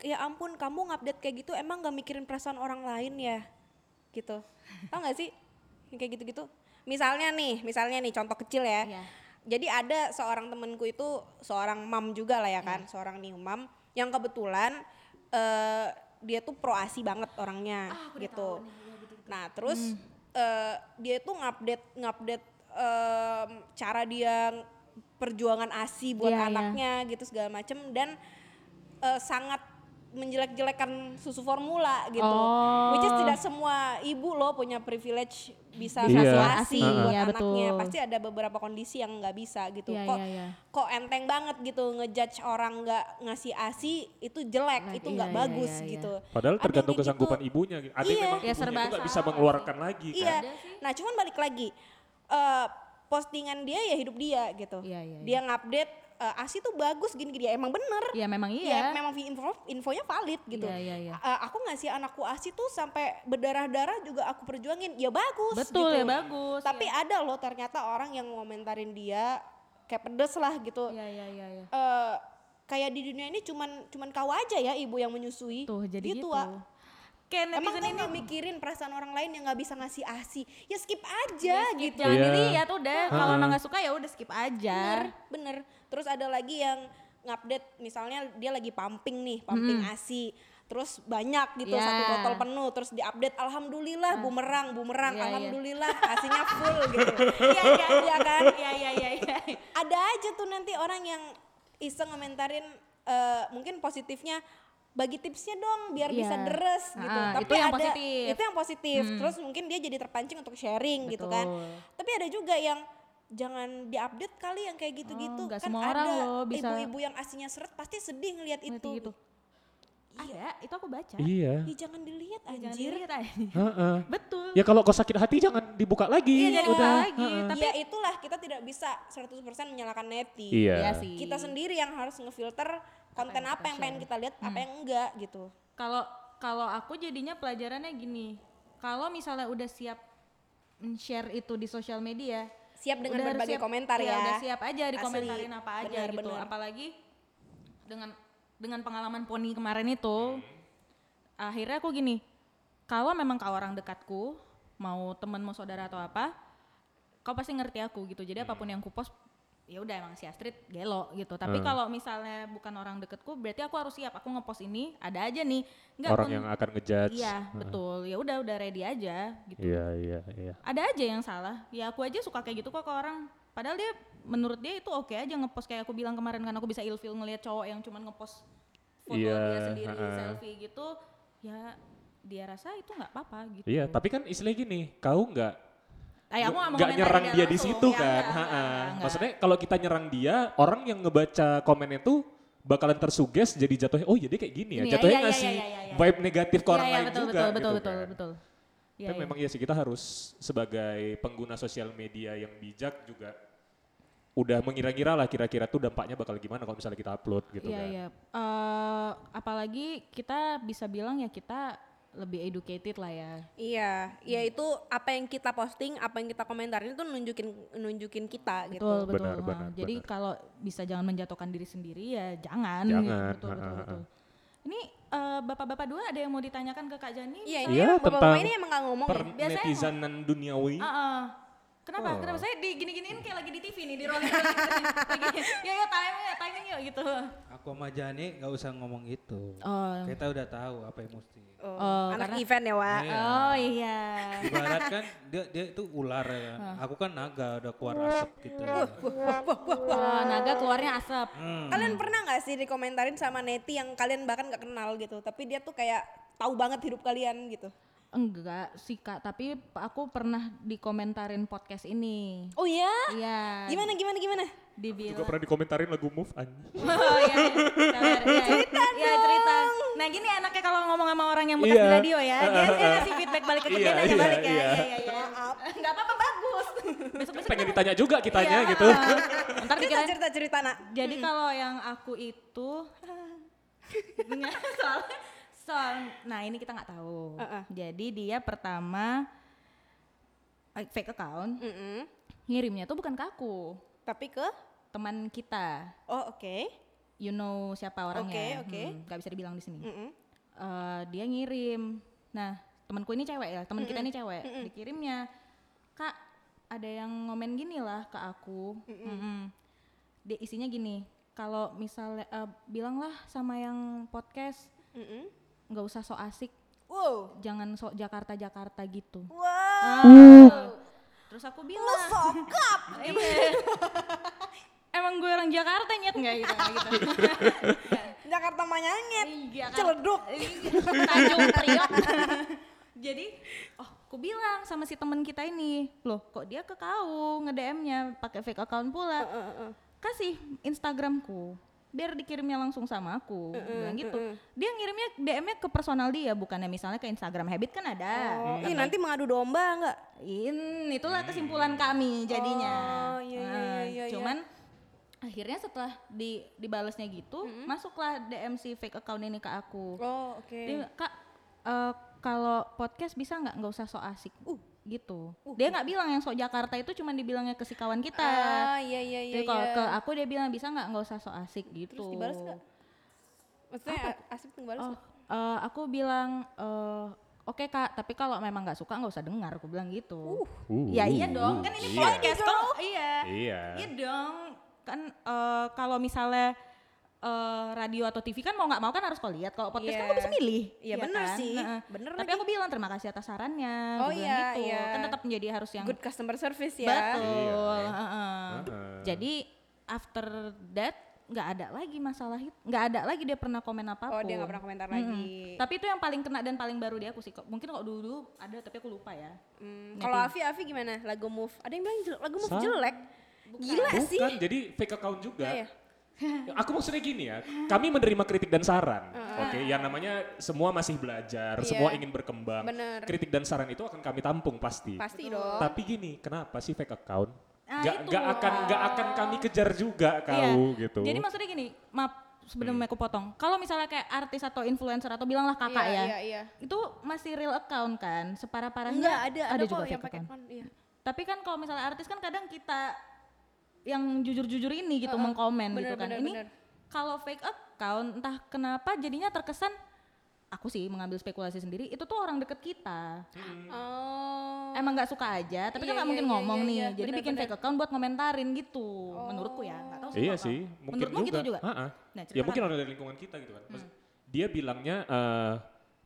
S1: ya ampun kamu ngupdate kayak gitu emang nggak mikirin perasaan orang lain ya, gitu. Tau nggak sih Yang kayak gitu-gitu? Misalnya nih, misalnya nih contoh kecil ya.
S2: Iya.
S1: Jadi ada seorang temenku itu seorang mam juga lah ya kan,
S2: Hmm.
S1: seorang new mam yang kebetulan eh, dia tuh pro asi banget orangnya
S2: Ah,
S1: gitu.
S2: Iya,
S1: Nah terus
S2: Hmm.
S1: eh, dia tuh ngupdate ngupdate em, cara dia perjuangan asi buat
S2: Iya, iya.
S1: anaknya gitu segala macem dan eh, sangat menjelek-jelekan susu formula gitu,
S2: Oh.
S1: which is tidak semua ibu loh punya privilege bisa
S3: Iya.
S1: kasih asi
S2: Asi,
S1: buat
S2: iya,
S1: anaknya.
S2: betul.
S1: Pasti ada beberapa kondisi yang nggak bisa gitu.
S2: Iya,
S1: kok
S2: iya, iya.
S1: kok enteng banget gitu ngejudge orang nggak ngasih asi itu jelek, itu
S2: Iya,
S1: nggak
S2: iya,
S1: bagus
S2: iya, iya.
S1: gitu.
S3: Padahal
S1: Ada yang
S3: tergantung
S1: kayak
S3: kesanggupan
S1: gitu.
S3: ibunya. gitu. Ada yang
S1: Iya.
S3: memang
S2: Ya,
S3: ibunya
S2: serba
S3: itu nggak bisa
S2: salah
S3: mengeluarkan lagi
S1: Iya.
S3: kan.
S1: Nah, cuman balik lagi eh, postingan dia ya hidup dia gitu.
S2: Iya, iya,
S1: Dia ngupdate eh, asi tuh bagus gini gini ya emang bener.
S2: ya memang iya
S1: Ya, memang vi- info, infonya valid gitu.
S2: Iya, iya, iya.
S1: Eh, aku ngasih anakku asi tuh sampai berdarah-darah juga aku perjuangin. Ya bagus
S2: Betul,
S1: gitu.
S2: ya bagus,
S1: Tapi ada loh ternyata orang yang ngomentarin dia kayak pedes lah gitu.
S2: Iya iya iya. iya.
S1: Eh, kayak di dunia ini cuman cuman kau aja ya ibu yang menyusui.
S2: Tuh jadi gitu.
S1: ah. Emang
S2: Kayak netizen
S1: kau
S2: ini
S1: nggak mikirin perasaan orang lain yang nggak bisa ngasih asi? Ya skip aja gitu.
S2: jangan
S3: Iya.
S2: dilihat udah. Kalau
S3: Ha-ha.
S2: emang nggak suka ya udah skip
S1: Bener,
S2: aja.
S1: bener. Terus ada lagi yang ngupdate misalnya dia lagi pumping nih, pumping
S2: Hmm.
S1: ASI. Terus banyak gitu
S2: Ya.
S1: satu botol penuh terus diupdate alhamdulillah bumerang bumerang
S2: Ah. Iya, iya.
S1: alhamdulillah asinya full gitu.
S2: [laughs]
S1: Iya iya iya kan.
S2: Iya iya iya iya.
S1: Ada aja tuh nanti orang yang iseng ngomentarin eh, mungkin positifnya bagi tipsnya dong biar bisa
S2: Iya.
S1: deres gitu.
S2: Ah,
S1: Tapi
S2: itu yang
S1: ada
S2: positif. Hmm.
S1: itu yang positif. Terus mungkin dia jadi terpancing untuk sharing [laughs] gitu kan.
S2: Betul.
S1: Tapi ada juga yang jangan diupdate kali yang kayak gitu-gitu
S2: Oh, nggak
S1: kan
S2: semua
S1: ada
S2: orang loh bisa-
S1: ibu-ibu yang aslinya seret pasti sedih ngelihat
S2: Ngeliat
S1: itu.
S2: gitu. Ada, itu aku baca. Eh,
S3: Iya.
S1: Ih, jangan dilihat
S2: Jangan
S1: anjir.
S2: dilihat aja.
S3: Heeh.
S2: [laughs] Betul.
S3: Ya kalau kau sakit hati jangan dibuka lagi.
S2: Iya, jangan dibuka lagi.
S3: heeh.
S2: Tapi-
S1: ya itulah kita tidak bisa 100% menyalahkan neti.
S3: Iya.
S2: Iya sih.
S1: Kita sendiri yang harus ngefilter konten apa yang pengen kita lihat, apa
S2: Hmm.
S1: yang enggak gitu.
S2: Kalau kalau aku jadinya pelajarannya gini. Kalau misalnya udah siap share itu di sosial media,
S1: Siap dengan
S2: udah harus
S1: berbagai
S2: siap-
S1: komentar
S2: iya,
S1: ya.
S2: Udah siap aja
S1: Asli.
S2: dikomentarin apa aja
S1: Benar,
S2: gitu.
S1: benar.
S2: Apalagi dengan dengan pengalaman poni kemarin
S3: Hmm.
S2: itu, akhirnya aku gini, kalau memang kau orang dekatku, mau temen mau saudara atau apa, kau pasti ngerti aku gitu.
S3: Hmm.
S2: Jadi apapun yang ku post ya udah emang si Astrid gelo gitu. Tapi
S3: Hmm.
S2: kalau misalnya bukan orang deketku, berarti aku harus siap. Aku ngepost ini ada aja nih. Nggak,
S3: Orang
S2: men-
S3: yang Hmm. akan ngejudge.
S2: Iya, betul. Ya udah udah ready aja gitu.
S3: Iya, iya, iya.
S2: Ada aja yang salah. Ya aku aja suka kayak gitu kok ke orang. Padahal dia menurut dia itu oke aja ngepost kayak aku bilang kemarin kan aku bisa ilfil ngelihat cowok yang cuman ngepost foto
S3: Iya,
S2: dia sendiri
S3: ha-ha.
S2: selfie gitu. Ya dia rasa itu nggak apa-apa gitu.
S3: Iya, tapi kan istilahnya gini, kau nggak
S2: Ay, aku nggak mau
S3: nggak
S2: komentarin
S3: nyerang
S2: dia
S3: dia di
S2: langsung.
S3: situ
S2: Ya,
S3: kan.
S2: nggak,
S3: Ha-ha.
S2: nggak, nggak.
S3: Maksudnya kalau kita nyerang dia, orang yang ngebaca komennya tuh bakalan tersuges jadi jatuhnya oh jadi kayak gini ya.
S2: Iya,
S3: jatuhnya
S2: iya, iya,
S3: ngasih
S2: iya, iya, iya.
S3: vibe negatif ke orang
S2: Iya, iya,
S3: lain
S2: betul,
S3: juga
S2: betul,
S3: gitu
S2: betul, betul,
S3: kan.
S2: betul. Iya,
S3: Tapi
S2: iya.
S3: memang ya sih kita harus sebagai pengguna sosial media yang bijak juga udah mengira-ngira lah kira-kira tuh dampaknya bakal gimana kalau misalnya kita upload gitu
S2: Iya,
S3: kan.
S2: iya. Eh, apalagi kita bisa bilang ya kita lebih educated lah ya.
S1: Iya, ya itu apa yang kita posting, apa yang kita komentarin itu nunjukin nunjukin kita gitu.
S2: Betul, betul.
S3: Benar,
S2: ha.
S3: benar,
S2: Jadi
S3: benar.
S2: kalau bisa jangan menjatuhkan diri sendiri ya jangan.
S3: Jangan,
S2: gitu. Betul,
S3: ha,
S2: betul,
S3: ha, ha.
S2: betul. Ini eh, bapak-bapak dua ada yang mau ditanyakan ke Kak Jani?
S1: Iya, ini emang
S3: Iya,
S1: bapak-bapak
S3: tentang
S1: ini emang Oh, gak ngomong ya.
S3: Pernetizanan duniawi.
S2: Ah, ah.
S3: Oh.
S2: Kenapa? Kenapa saya digini-giniin kayak lagi di TV nih, di rolling [laughs] lagi. Ya, ya, time ya, timing yuk gitu.
S4: Aku sama Jani nggak usah ngomong itu.
S2: Oh.
S4: Kita udah tahu apa yang mesti.
S1: Oh,
S2: Oh,
S1: anak
S2: karena-
S1: event ya, Wak.
S4: Iya.
S2: Oh iya.
S1: [laughs]
S4: Ibarat kan dia dia itu ular ya kan. Aku kan naga udah keluar asap gitu.
S2: Oh, naga keluarnya asap.
S3: Hmm.
S1: Kalian pernah nggak sih dikomentarin sama Neti yang kalian bahkan nggak kenal gitu, tapi dia tuh kayak tahu banget hidup kalian gitu.
S2: Enggak sih kak, tapi p- aku pernah dikomentarin podcast ini.
S1: Oh iya?
S2: Iya.
S1: Gimana gimana gimana?
S3: Juga
S1: iya.
S2: Dibilang.
S3: pernah dikomentarin lagu Move anjing.
S2: Oh [laughs] iya. Cerita Iya cerita. Nah gini anaknya kalau ngomong sama orang yang bekas
S3: Iya.
S2: di radio ya, dia [laughs] dia ngasih feedback balik ke
S3: Iya,
S2: kita ya
S3: iya,
S2: balik ya.
S3: iya.
S2: Iya iya iya. Enggak apa-apa bagus. Besok [laughs] besok
S3: Pengen ditanya juga kitanya
S1: Iya.
S3: gitu.
S2: Ntar Hmm.
S1: Cerita
S2: dikirain
S1: cerita cerita nak.
S2: jadi kalau yang aku itu Nggak, [laughs] soal soal nah ini kita nggak tahu
S1: Uh-uh.
S2: jadi dia pertama eh, fake account
S1: Mm-mm.
S2: ngirimnya tuh bukan ke aku
S1: Tapi ke?
S2: teman kita
S1: Oh oke.
S2: you know siapa
S1: Oke,
S2: orangnya
S1: oke.
S2: Hmm, nggak bisa dibilang di sini
S1: Mm-mm.
S2: Eh, dia ngirim nah temanku ini cewek ya teman kita ini cewek dikirimnya kak ada yang ngomen gini lah ke aku Mm-mm. Dia isinya gini kalau misalnya eh, bilanglah sama yang podcast
S1: Mm-mm.
S2: nggak usah sok asik
S1: Wow.
S2: jangan sok Jakarta Jakarta gitu
S1: Wow.
S2: Ah, terus aku
S1: Lu
S2: bilang
S1: sokap.
S2: emang gue orang Jakarta nyet nggak gitu, gitu.
S1: Jakarta manyangit.
S2: Iya, kan.
S1: Celeduk.
S2: Tanjung Priok. Jadi, oh, aku bilang sama si temen kita ini, loh, kok dia ke kau nge-DM-nya pakai fake account pula. Kasih Instagramku, biar dikirimnya langsung sama aku, bilang gitu. Dia ngirimnya DM-nya ke personal dia, bukannya misalnya ke Instagram Habit kan ada.
S1: Oh, ih nanti mengadu domba nggak?
S2: In, itulah kesimpulan kami jadinya.
S1: Oh, iya, iya,
S2: Nah,
S1: iya, iya,
S2: Cuman akhirnya setelah di dibalasnya gitu,
S1: Mm-hmm.
S2: masuklah DM si fake account ini ke aku.
S1: Oh oke.
S2: Dia, kak eh, kalau podcast bisa nggak nggak usah sok asik gitu
S1: Uh, iya.
S2: dia nggak bilang yang sok Jakarta itu cuma dibilangnya ke si kawan kita
S1: Ah iya iya iya.
S2: jadi kalau
S1: iya.
S2: ke aku dia bilang bisa nggak nggak usah sok asik gitu
S1: Terus dibalas nggak? Maksudnya asik tuh balas
S2: Oh, eh, aku bilang eh, oke kak tapi kalau memang nggak suka nggak usah dengar aku bilang
S1: Uh.
S2: gitu ya iya dong kan ini
S3: Iya.
S2: podcast kok iya
S3: Iya.
S2: iya dong kan eh, kalau misalnya eh, radio atau TV kan mau nggak mau kan harus kau lihat kalau podcast
S1: Iya.
S2: kan kau bisa milih
S1: Iya, bener sih.
S2: kan? Heeh.
S1: Bener
S2: tapi
S1: lagi.
S2: aku bilang terima kasih atas sarannya
S1: Oh,
S2: aku bilang
S1: iya,
S2: gitu
S1: iya.
S2: kan tetap menjadi harus yang
S1: Good customer service ya.
S2: betul
S3: Iya.
S2: heeh.
S3: Heeh.
S2: jadi after that nggak ada lagi masalah itu nggak ada lagi dia pernah komen apapun
S1: Oh dia nggak pernah komentar lagi.
S2: tapi itu yang paling kena dan paling baru di aku sih. Kok- Mungkin kalau dulu ada tapi aku lupa ya.
S1: Hmm, Kalau Avi Avi gimana? Lagu Move. Ada yang bilang jelek, lagu Move jelek. Gila sih.
S3: Bukan, jadi fake account juga.
S1: Iya.
S3: Aku maksudnya gini ya, kami menerima kritik dan saran. Oke, yang namanya semua masih belajar,
S1: Iya.
S3: semua ingin berkembang.
S1: Bener.
S3: Kritik dan saran itu akan kami tampung pasti.
S1: Pasti Ah, dong.
S3: Tapi gini, kenapa sih fake account?
S2: Nah,
S3: gak,
S2: itu.
S3: gak akan gak akan kami kejar juga kau
S2: Iya.
S3: gitu. Hmm.
S2: Jadi maksudnya gini, maaf sebelum aku potong. Kalau misalnya kayak artis atau influencer atau bilanglah kakak
S1: Iya,
S2: ya.
S1: iya, iya.
S2: Itu masih real account kan? Separah-parahnya
S1: Enggak ada, ada,
S2: juga
S1: kok
S2: kan?
S1: yang
S2: fake
S1: pakai
S2: account.
S1: font, iya.
S2: Tapi kan kalau misalnya artis kan kadang kita yang jujur-jujur ini gitu mengkomen
S1: Bener,
S2: gitu kan.
S1: bener,
S2: ini
S1: bener.
S2: kalau fake account entah kenapa jadinya terkesan aku sih mengambil spekulasi sendiri itu tuh orang deket kita
S1: Oh.
S2: emang nggak suka aja tapi
S1: Iya,
S2: kan nggak
S1: iya,
S2: mungkin
S1: iya,
S2: ngomong
S1: iya,
S2: nih
S1: iya,
S2: jadi bikin
S1: benar-benar.
S2: fake account buat komentarin gitu menurutku ya nggak tahu
S3: Iya
S2: kalau-
S3: sih, mungkin
S2: menurutmu
S3: juga.
S2: gitu juga
S3: Ha-ha.
S2: Nah, Hmm.
S3: ya
S2: ceritakan.
S3: mungkin orang dari lingkungan kita gitu kan. Maksud- Dia bilangnya, eh,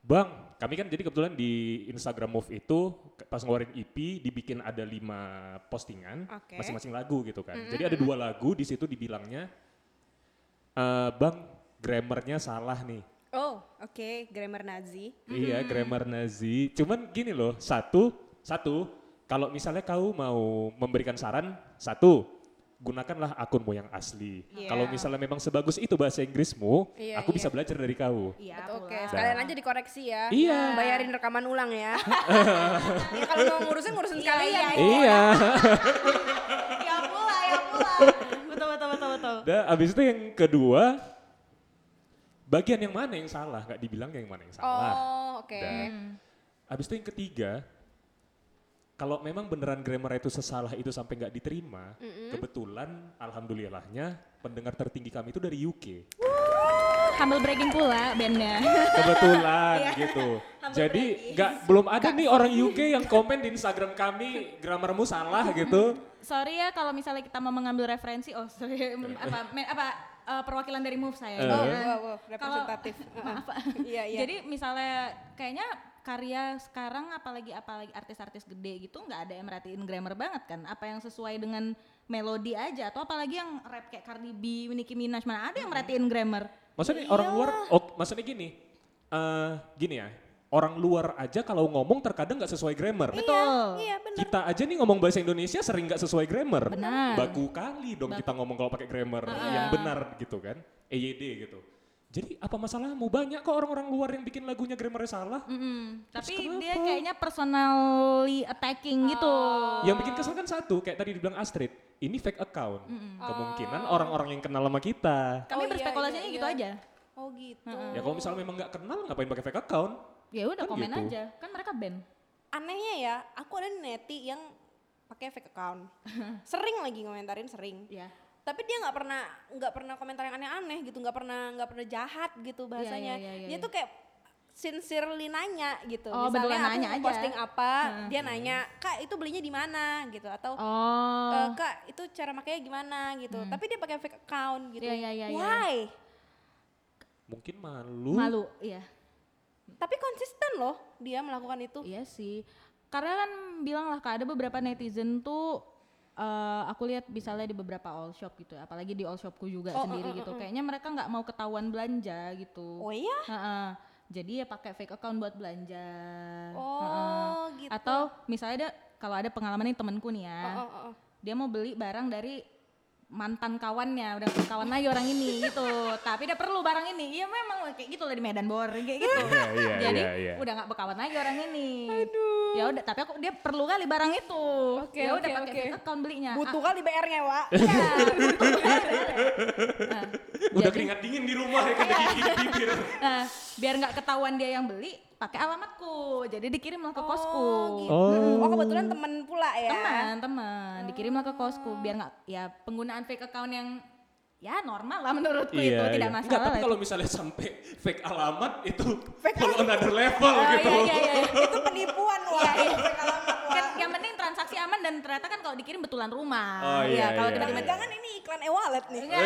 S3: Bang, kami kan jadi kebetulan di Instagram Move itu ke- pas ngeluarin EP dibikin ada lima postingan
S1: Oke.
S3: masing-masing lagu gitu
S2: Hmm,
S3: kan. Jadi ada dua lagu di situ dibilangnya, eh, Bang, grammarnya salah nih.
S1: Oh, oke, grammar Nazi.
S3: Iya, grammar Nazi. Cuman gini loh, satu, satu, kalau misalnya kau mau memberikan saran, satu, gunakanlah akunmu yang asli.
S1: Iya.
S3: Kalau misalnya memang sebagus itu bahasa Inggrismu,
S1: Iya,
S3: aku
S1: iya.
S3: bisa belajar dari kau.
S2: Iya,
S1: Betul, Oke,
S2: pula.
S1: sekalian aja dikoreksi ya.
S3: Iya.
S1: Bayarin rekaman ulang
S3: [laughs]
S1: ya. Ya, kalau mau ngurusin ngurusin sekalian.
S2: iya,
S1: gitu.
S3: Iya.
S2: ya pula, ya
S1: [laughs]
S2: pula. Betul, betul, betul, betul.
S3: Dan abis itu yang kedua, bagian yang mana yang salah? Gak dibilang yang mana yang salah.
S1: Oh, oke.
S3: Dah. Abis itu yang ketiga, kalau memang beneran grammar itu sesalah itu sampai nggak diterima, kebetulan alhamdulillahnya pendengar tertinggi kami itu dari UK.
S2: Humble bragging pula bandnya.
S3: Kebetulan gitu. Jadi nggak belum ada nih orang UK yang komen di Instagram kami grammarmu salah gitu.
S2: Sorry ya kalau misalnya kita mau mengambil referensi, oh
S3: [laughs]
S2: sorry, mem- apa, me- apa eh, perwakilan dari move saya.
S3: Eh.
S1: Oh,
S2: ya.
S1: wow, wow,
S2: Kalau- [laughs]
S1: representatif.
S2: Maaf.
S1: Iya, iya.
S2: Jadi misalnya kayaknya karya sekarang apalagi apalagi artis-artis gede gitu nggak ada yang merhatiin grammar banget kan apa yang sesuai dengan melodi aja atau apalagi yang rap kayak Cardi B, Nicki Minaj mana ada yang merhatiin grammar
S3: Maksudnya orang luar, ok, maksudnya gini, eh gini ya, orang luar aja kalau ngomong terkadang nggak sesuai grammar.
S2: betul
S1: Iya, benar.
S3: Kita aja nih ngomong bahasa Indonesia sering nggak sesuai grammar.
S2: Benar.
S3: Baku kali dong kita ngomong kalau pakai grammar yang benar gitu kan. EYD gitu. Jadi apa masalahmu? Banyak kok orang-orang luar yang bikin lagunya grammarnya salah.
S2: Mm-mm.
S3: Terus
S2: tapi
S3: kenapa?
S2: dia kayaknya personally attacking gitu.
S1: Oh,
S3: Yang bikin kesel kan satu, kayak tadi dibilang Astrid, ini fake account. Oh. Kemungkinan
S2: Oh.
S3: orang-orang yang kenal sama kita.
S2: Kami
S1: Oh, iya,
S2: berspekulasinya
S1: iya,
S2: gitu
S1: iya.
S2: aja.
S1: Oh, gitu.
S3: Ya kalau misalnya memang nggak kenal ngapain pakai fake account?
S2: Ya udah
S3: Kan
S2: komen
S3: gitu.
S2: aja. Kan mereka band.
S1: Anehnya ya, aku ada neti yang pakai fake
S2: [laughs]
S1: account. sering lagi ngomentarin sering.
S2: Iya.
S1: Tapi dia nggak pernah nggak pernah komentar yang aneh-aneh gitu, nggak pernah nggak pernah jahat gitu bahasanya.
S2: iya, iya,
S1: Dia
S2: iya.
S1: tuh kayak sincerely nanya gitu.
S2: Oh,
S1: Misalnya
S2: beneran
S1: aku
S2: nanya aja.
S1: posting apa, dia nanya, "Kak, itu belinya di mana?" gitu atau
S2: Oh. Hmm.
S1: "Eh, kak itu cara makanya gimana gitu tapi dia pakai fake account gitu
S2: Iya, iya, iya, iya.
S1: why
S3: Mungkin malu.
S2: Malu, iya.
S1: tapi konsisten loh dia melakukan itu
S2: Iya sih. Karena kan bilang lah Kak, ada beberapa netizen tuh eh, aku lihat misalnya di beberapa all shop gitu, apalagi di all shopku juga
S1: eh,
S2: sendiri gitu. Kayaknya mereka nggak mau ketahuan belanja gitu.
S1: oh iya
S2: Heeh. Jadi ya pakai fake account buat belanja. Heeh.
S1: oh gitu
S2: Atau misalnya ada kalau ada pengalaman nih temenku nih ya.
S1: oh, oh, oh, oh.
S2: dia mau beli barang dari mantan kawannya udah bukan kawan lagi orang ini gitu tapi dia perlu barang ini iya memang kayak gitu lah di Medan Bor kayak gitu
S3: Iya, iya,
S2: [laughs] jadi
S3: iya, iya.
S2: udah nggak berkawan lagi orang ini Aduh. ya udah tapi aku dia perlu kali barang itu
S1: Oke,
S2: ya udah
S1: oke,
S2: pakai
S1: oke.
S2: fake account belinya
S1: butuh kali BR nya
S2: [laughs]
S1: wa
S3: Udah keringat dingin di rumah ya kan udah gigit
S2: [laughs]
S3: bibir.
S2: Ah, nah, biar nggak ketahuan dia yang beli pakai alamatku jadi dikirim lah ke kosku
S1: gitu. oh kebetulan temen pula ya
S2: teman teman dikirim lah ke kosku biar nggak ya penggunaan fake account yang ya normal lah menurutku itu tidak masalah
S3: Enggak, Iya, tapi
S2: lah itu.
S3: kalau misalnya sampai fake alamat itu follow on another level
S2: Oh,
S3: gitu.
S2: iya, iya, iya.
S1: itu penipuan iya, wa Fake alamat, Wa.
S2: Kan yang penting transaksi aman dan ternyata kan kalau dikirim betulan rumah.
S3: Oh, iya,
S2: kalau
S3: iya,
S2: tiba-tiba
S3: iya.
S1: jangan ini iklan e-wallet nih ya.
S2: enggak.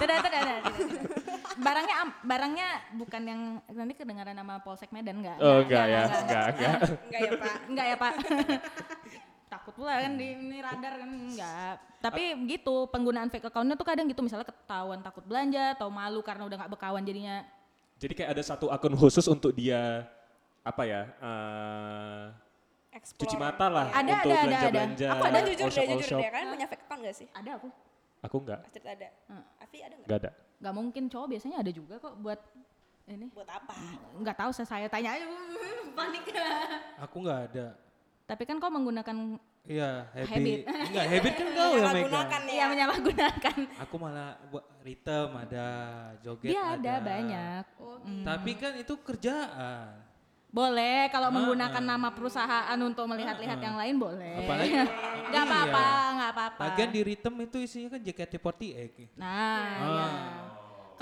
S2: Tidak, tidak, tidak. Barangnya am- barangnya bukan yang nanti kedengaran nama Polsek Medan enggak?
S3: Oh enggak ya, enggak, enggak.
S1: enggak ya pak
S2: Enggak ya, Pak. [laughs] Takut pula kan di ini radar kan enggak. Tapi gitu, penggunaan fake account-nya tuh kadang gitu misalnya ketahuan takut belanja atau malu karena udah nggak bekawan jadinya
S3: Jadi kayak ada satu akun khusus untuk dia apa ya? eh
S1: explore.
S3: cuci mata lah
S2: Ada,
S3: untuk
S2: ada, ada,
S3: belanja
S2: ada.
S3: belanja.
S1: Aku ada jujur
S3: all shop,
S1: deh,
S3: all
S1: jujur
S3: shop.
S1: deh. Kalian punya fake account gak sih?
S2: Ada aku.
S3: Aku enggak,
S1: Pasti ada.
S2: Hmm.
S1: Afi ada nggak?
S3: enggak ada.
S2: Gak mungkin cowok biasanya ada juga kok buat ini.
S1: Buat apa?
S2: Gak tahu saya, saya tanya aja. [laughs] Panik.
S4: Aku nggak ada.
S2: Tapi kan kau menggunakan
S4: Iya,
S2: Habit.
S4: habit. Enggak, habit kan
S1: [laughs]
S4: kau yang
S1: Menyalahgunakan
S4: megang.
S1: ya.
S2: ya menyalahgunakan.
S4: Aku malah buat rhythm ada, joget
S2: Dia
S4: ada.
S2: Iya, ada banyak. Mm.
S4: Tapi kan itu kerjaan.
S2: Boleh
S4: Ah,
S2: kalau menggunakan nama perusahaan untuk melihat-lihat yang lain boleh. [laughs]
S4: Apalagi-
S2: Gak apa-apa,
S4: Iya.
S2: gak apa-apa.
S4: Lagian di Ah. rhythm itu isinya kan JKT48.
S2: Nah, ya.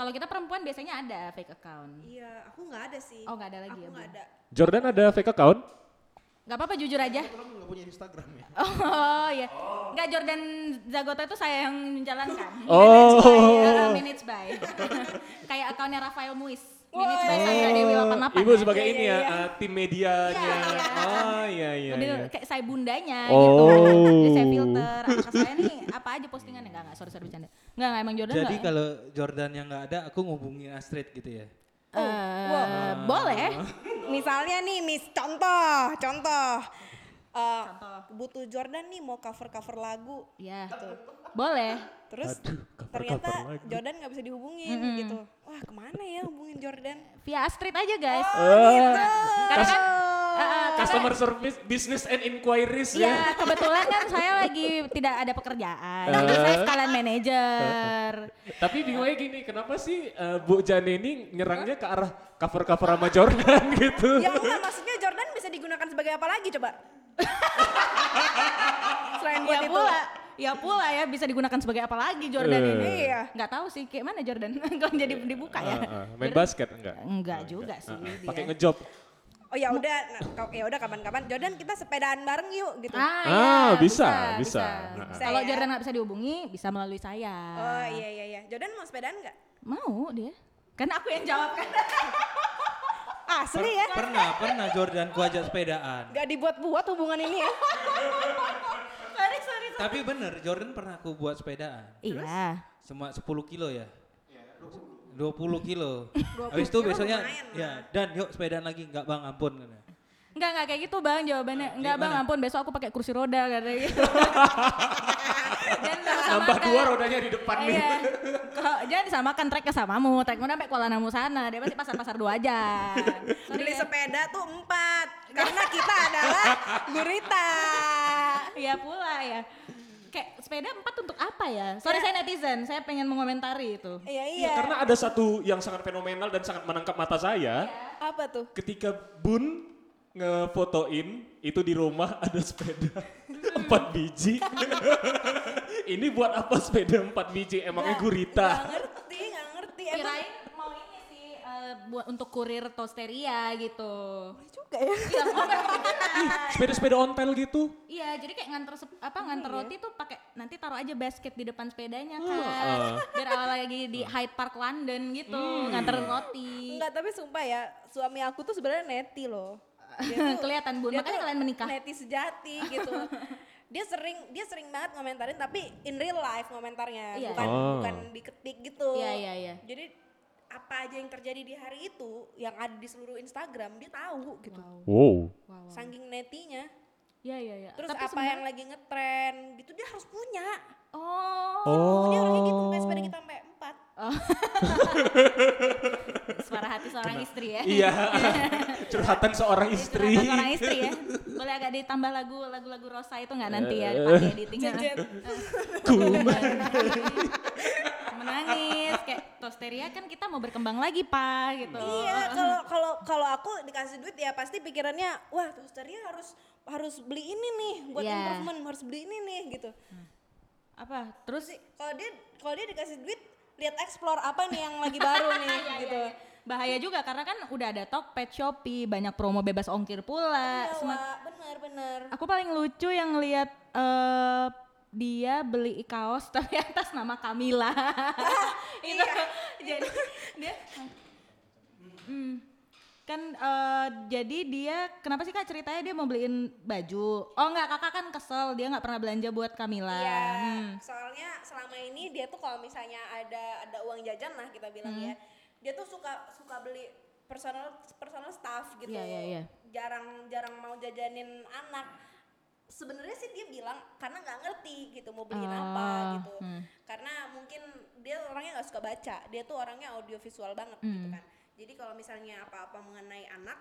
S2: Kalau kita perempuan biasanya ada fake account.
S1: Iya, aku nggak ada sih.
S2: Oh, nggak ada lagi
S1: Aku
S2: ya,
S1: nggak
S2: Bu?
S1: ada.
S3: Jordan ada fake account?
S2: Gak apa-apa jujur aja.
S5: Orang nggak punya Instagram ya?
S2: [laughs] Oh ya. Enggak Jordan Zagota itu saya yang
S4: [laughs]
S2: menjalankan.
S3: Oh.
S2: Minutes by. [laughs] ya, minutes by. Kayak akunnya Rafael Muiz. Minutes by Sandra Dewi 88.
S3: Ibu
S2: kan?
S3: sebagai
S1: Iya,
S3: ini
S1: iya,
S3: ya,
S1: iya.
S3: eh, tim medianya.
S2: Iya.
S3: Oh iya iya.
S2: Lebih
S3: iya.
S2: kayak saya bundanya gitu.
S3: Oh.
S2: Jadi saya filter apakah saya nih apa aja postingannya enggak enggak sorry sorry bercanda. Enggak enggak emang Jordan
S4: Jadi
S2: enggak,
S4: kalau Jordan yang nggak ada, aku ngubungin Astrid gitu ya.
S2: eh,
S3: Ah.
S2: boleh.
S1: Misalnya nih, mis contoh, contoh. Eh, butuh Jordan nih mau cover-cover lagu.
S2: Ya. Boleh.
S1: Terus ternyata Jordan nggak bisa dihubungin gitu. Wah kemana ya hubungin Jordan?
S2: Via Astrid aja guys.
S3: Oh.
S1: Gitu.
S2: Karena kan eh, eh, karena-
S3: Customer service, business and inquiries ya.
S2: Ya kebetulan kan saya lagi tidak ada pekerjaan,
S3: Eh.
S2: jadi saya sekalian manajer.
S3: Tapi bingungnya gini, kenapa sih eh, Bu Janeni nyerangnya ke arah cover-cover sama Jordan [laughs] gitu?
S1: Ya enggak, maksudnya Jordan bisa digunakan sebagai apa lagi coba?
S3: Kan
S1: Selain buat
S2: Ya
S1: itu.
S2: pula, ya pula ya bisa digunakan sebagai apa lagi Jordan
S3: Eh.
S2: ini?
S1: Iya.
S2: Nggak tahu sih, kayak mana Jordan? [laughs] Kok jadi dibuka ya?
S3: Ah, ah, main basket enggak?
S2: Enggak juga sih.
S3: Ah, ah,
S2: dia.
S3: Pakai ngejob.
S1: Oh ya udah, nah, kau- ya udah kapan-kapan Jordan kita sepedaan bareng yuk gitu.
S2: Ah,
S3: Ah,
S2: iya,
S3: bisa, bisa. Nah,
S1: ah.
S2: Kalau
S1: Saya.
S2: Jordan nggak bisa dihubungi, bisa melalui saya.
S1: Oh iya iya iya. Jordan mau sepedaan nggak?
S2: Mau dia? Karena aku yang jawab [laughs] kan. Ah,
S1: Asli ya.
S4: Pernah, pernah Jordan ku ajak sepedaan.
S1: Gak dibuat-buat hubungan ini ya.
S2: sorry, sorry. sorry.
S4: Tapi bener, Jordan pernah aku buat sepedaan.
S2: Iya.
S4: Cuma 10 kilo ya? 20 kilo. Habis itu biasanya, ya, dan yuk sepedaan lagi. Enggak bang, ampun. gitu. Nah,
S2: Enggak, enggak kayak gitu bang jawabannya. Enggak bang, ampun besok aku pakai kursi roda karena [laughs] gitu. Dan
S3: Tambah dua rodanya di depan nih. [laughs] Ya,
S2: Iya. Kalau jangan disamakan treknya samamu, trekmu sampai Kuala Namu sana, dia pasti pasar-pasar dua [laughs] aja.
S1: [laughs]
S2: Sorry
S1: Beli
S2: ya.
S1: sepeda tuh empat. Karena kita adalah gurita.
S2: Iya pula ya. Kayak sepeda empat untuk apa ya? Sorry saya netizen, saya pengen mengomentari itu.
S1: Iya iya.
S3: Ya, karena ada satu yang sangat fenomenal dan sangat menangkap mata saya.
S2: Iya.
S1: Apa tuh?
S3: Ketika Bun ngefotoin itu di rumah [laughs] ada sepeda empat biji. [laughs] Ini buat apa sepeda empat biji? Emangnya gurita?
S1: Gak ngerti, gak ngerti. Emang
S2: Kirain mau ini sih eh, buat untuk kurir tosteria gitu.
S1: juga ya.
S2: Iya, mau-
S3: Sepeda-sepeda ontel gitu.
S2: Iya, jadi kayak nganter sep-
S1: Oh,
S2: apa
S1: iya.
S2: nganter roti tuh pakai nanti taruh aja basket di depan
S1: Oh,
S2: sepedanya kan.
S1: uh.
S2: Biar awal lagi
S1: [laughs]
S2: di Hyde Park London gitu, nganter roti.
S1: Hmm. Enggak, tapi sumpah ya, suami aku tuh sebenarnya neti loh.
S2: [laughs] [laughs] Kelihatan Bun,
S1: dia
S2: makanya
S1: tuh
S2: kalian menikah.
S1: Neti sejati
S2: [laughs]
S1: gitu. dia sering dia sering banget ngomentarin tapi in real life ngomentarnya,
S2: Iya.
S1: bukan
S3: Oh.
S1: bukan diketik gitu.
S2: Iya, iya, iya.
S1: Jadi apa aja yang terjadi di hari itu yang ada di seluruh Instagram dia tahu gitu.
S3: Wow.
S1: Saking netinya.
S2: Iya, iya, iya.
S1: Terus apa
S2: Tapi sebenarnya-
S1: yang lagi ngetren gitu dia harus punya.
S2: Oh,
S1: Oh. Dia orangnya gitu sampai sepeda kita sampai empat.
S2: suara hati seorang istri ya. [laughs]
S3: Iya. Curhatan seorang istri.
S2: Iya, Curhatan seorang istri ya. Boleh agak ditambah lagu lagu-lagu Rosa itu nggak nanti ya dipakai editing.
S1: Jet.
S2: Menangis kayak tosteria kan kita mau berkembang lagi, Pak gitu.
S1: Iya, kalau kalau kalau aku dikasih duit ya pasti pikirannya, wah toasternya harus harus beli ini nih buat
S2: Iya.
S1: improvement, harus beli ini nih gitu.
S2: Apa? Terus
S1: Terus sih, kalau dia kalau dia dikasih duit lihat explore apa nih yang lagi [laughs] baru nih gitu.
S2: bahaya juga karena kan udah ada Tokped, Shopee, banyak promo bebas ongkir pula.
S1: Iya,
S2: Semak-
S1: Wak, bener bener.
S2: aku paling lucu yang lihat eh, dia beli kaos [laughs] tapi atas nama
S1: [laughs]
S2: Kamila. itu
S1: Iya.
S2: [laughs] jadi dia Hmm. kan eh, jadi dia kenapa sih Kak ceritanya dia mau beliin baju? Oh enggak, Kakak kan kesel dia nggak pernah belanja buat Kamila.
S1: Iya,
S2: Hmm.
S1: soalnya selama ini
S2: Hmm.
S1: dia tuh kalau misalnya ada ada uang jajan lah kita bilang ya, dia tuh suka suka beli personal personal staff gitu.
S2: Iya, iya, iya.
S1: Jarang jarang mau jajanin anak. Sebenarnya sih dia bilang karena nggak ngerti gitu mau beliin apa
S2: Ah,
S1: gitu.
S2: hmm.
S1: Karena mungkin dia orangnya nggak suka baca. Dia tuh orangnya audiovisual banget gitu
S2: Hmm.
S1: kan. Jadi kalau misalnya apa-apa mengenai anak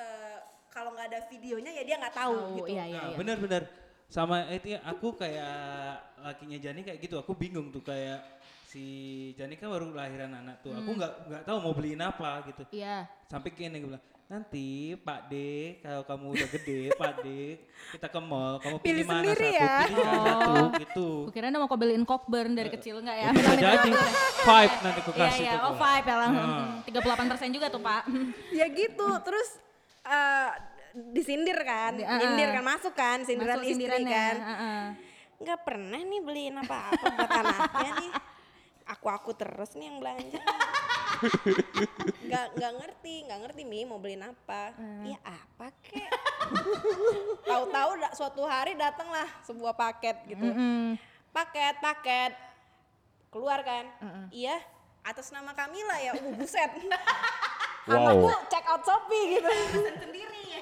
S1: eh, kalau nggak ada videonya ya dia nggak tahu
S2: Tahu,
S1: gitu.
S2: iya, iya,
S4: Nah,
S2: iya.
S4: benar-benar sama itu ya, aku kayak lakinya Jani kayak gitu. Aku bingung tuh kayak si Jani kan baru lahiran anak tuh. Aku nggak nggak tahu mau beliin apa gitu.
S2: Iya.
S4: Sampai gini gue bilang, "Nanti Pak D, kalau kamu udah gede, Pak D, kita ke mall, kamu pilih,
S1: Pilih
S4: mana
S1: sendiri
S4: satu,
S1: ya."
S4: pilih kan satu
S2: Oh.
S4: gitu."
S2: Kukira anda mau kau beliin Cockburn dari kecil enggak ya?
S4: Eh, Bisa jadi vibe nanti aku
S2: Iya
S4: kasih
S2: iya,
S4: tuh,
S2: oh
S4: Pak.
S2: five ya lah.
S4: Nah.
S2: 38% juga tuh pak.
S1: ya gitu terus eh, disindir kan
S2: Di- ah,
S1: nyindir
S2: ah.
S1: kan masuk kan sindiran
S2: Masuk
S1: istri
S2: sindirannya,
S1: kan
S2: heeh.
S1: nggak pernah nih beliin apa-apa buat anaknya
S2: [laughs]
S1: nih aku aku terus nih yang belanja nggak nggak ngerti nggak ngerti mi mau beliin apa
S2: Hmm.
S1: Iya apa kek [laughs] tahu-tahu da- suatu hari datanglah sebuah paket gitu
S2: Mm.
S1: paket paket keluar kan iya atas nama Kamila ya uh,
S2: [laughs]
S1: buset anakku check out Shopee gitu
S2: Sendiri ya.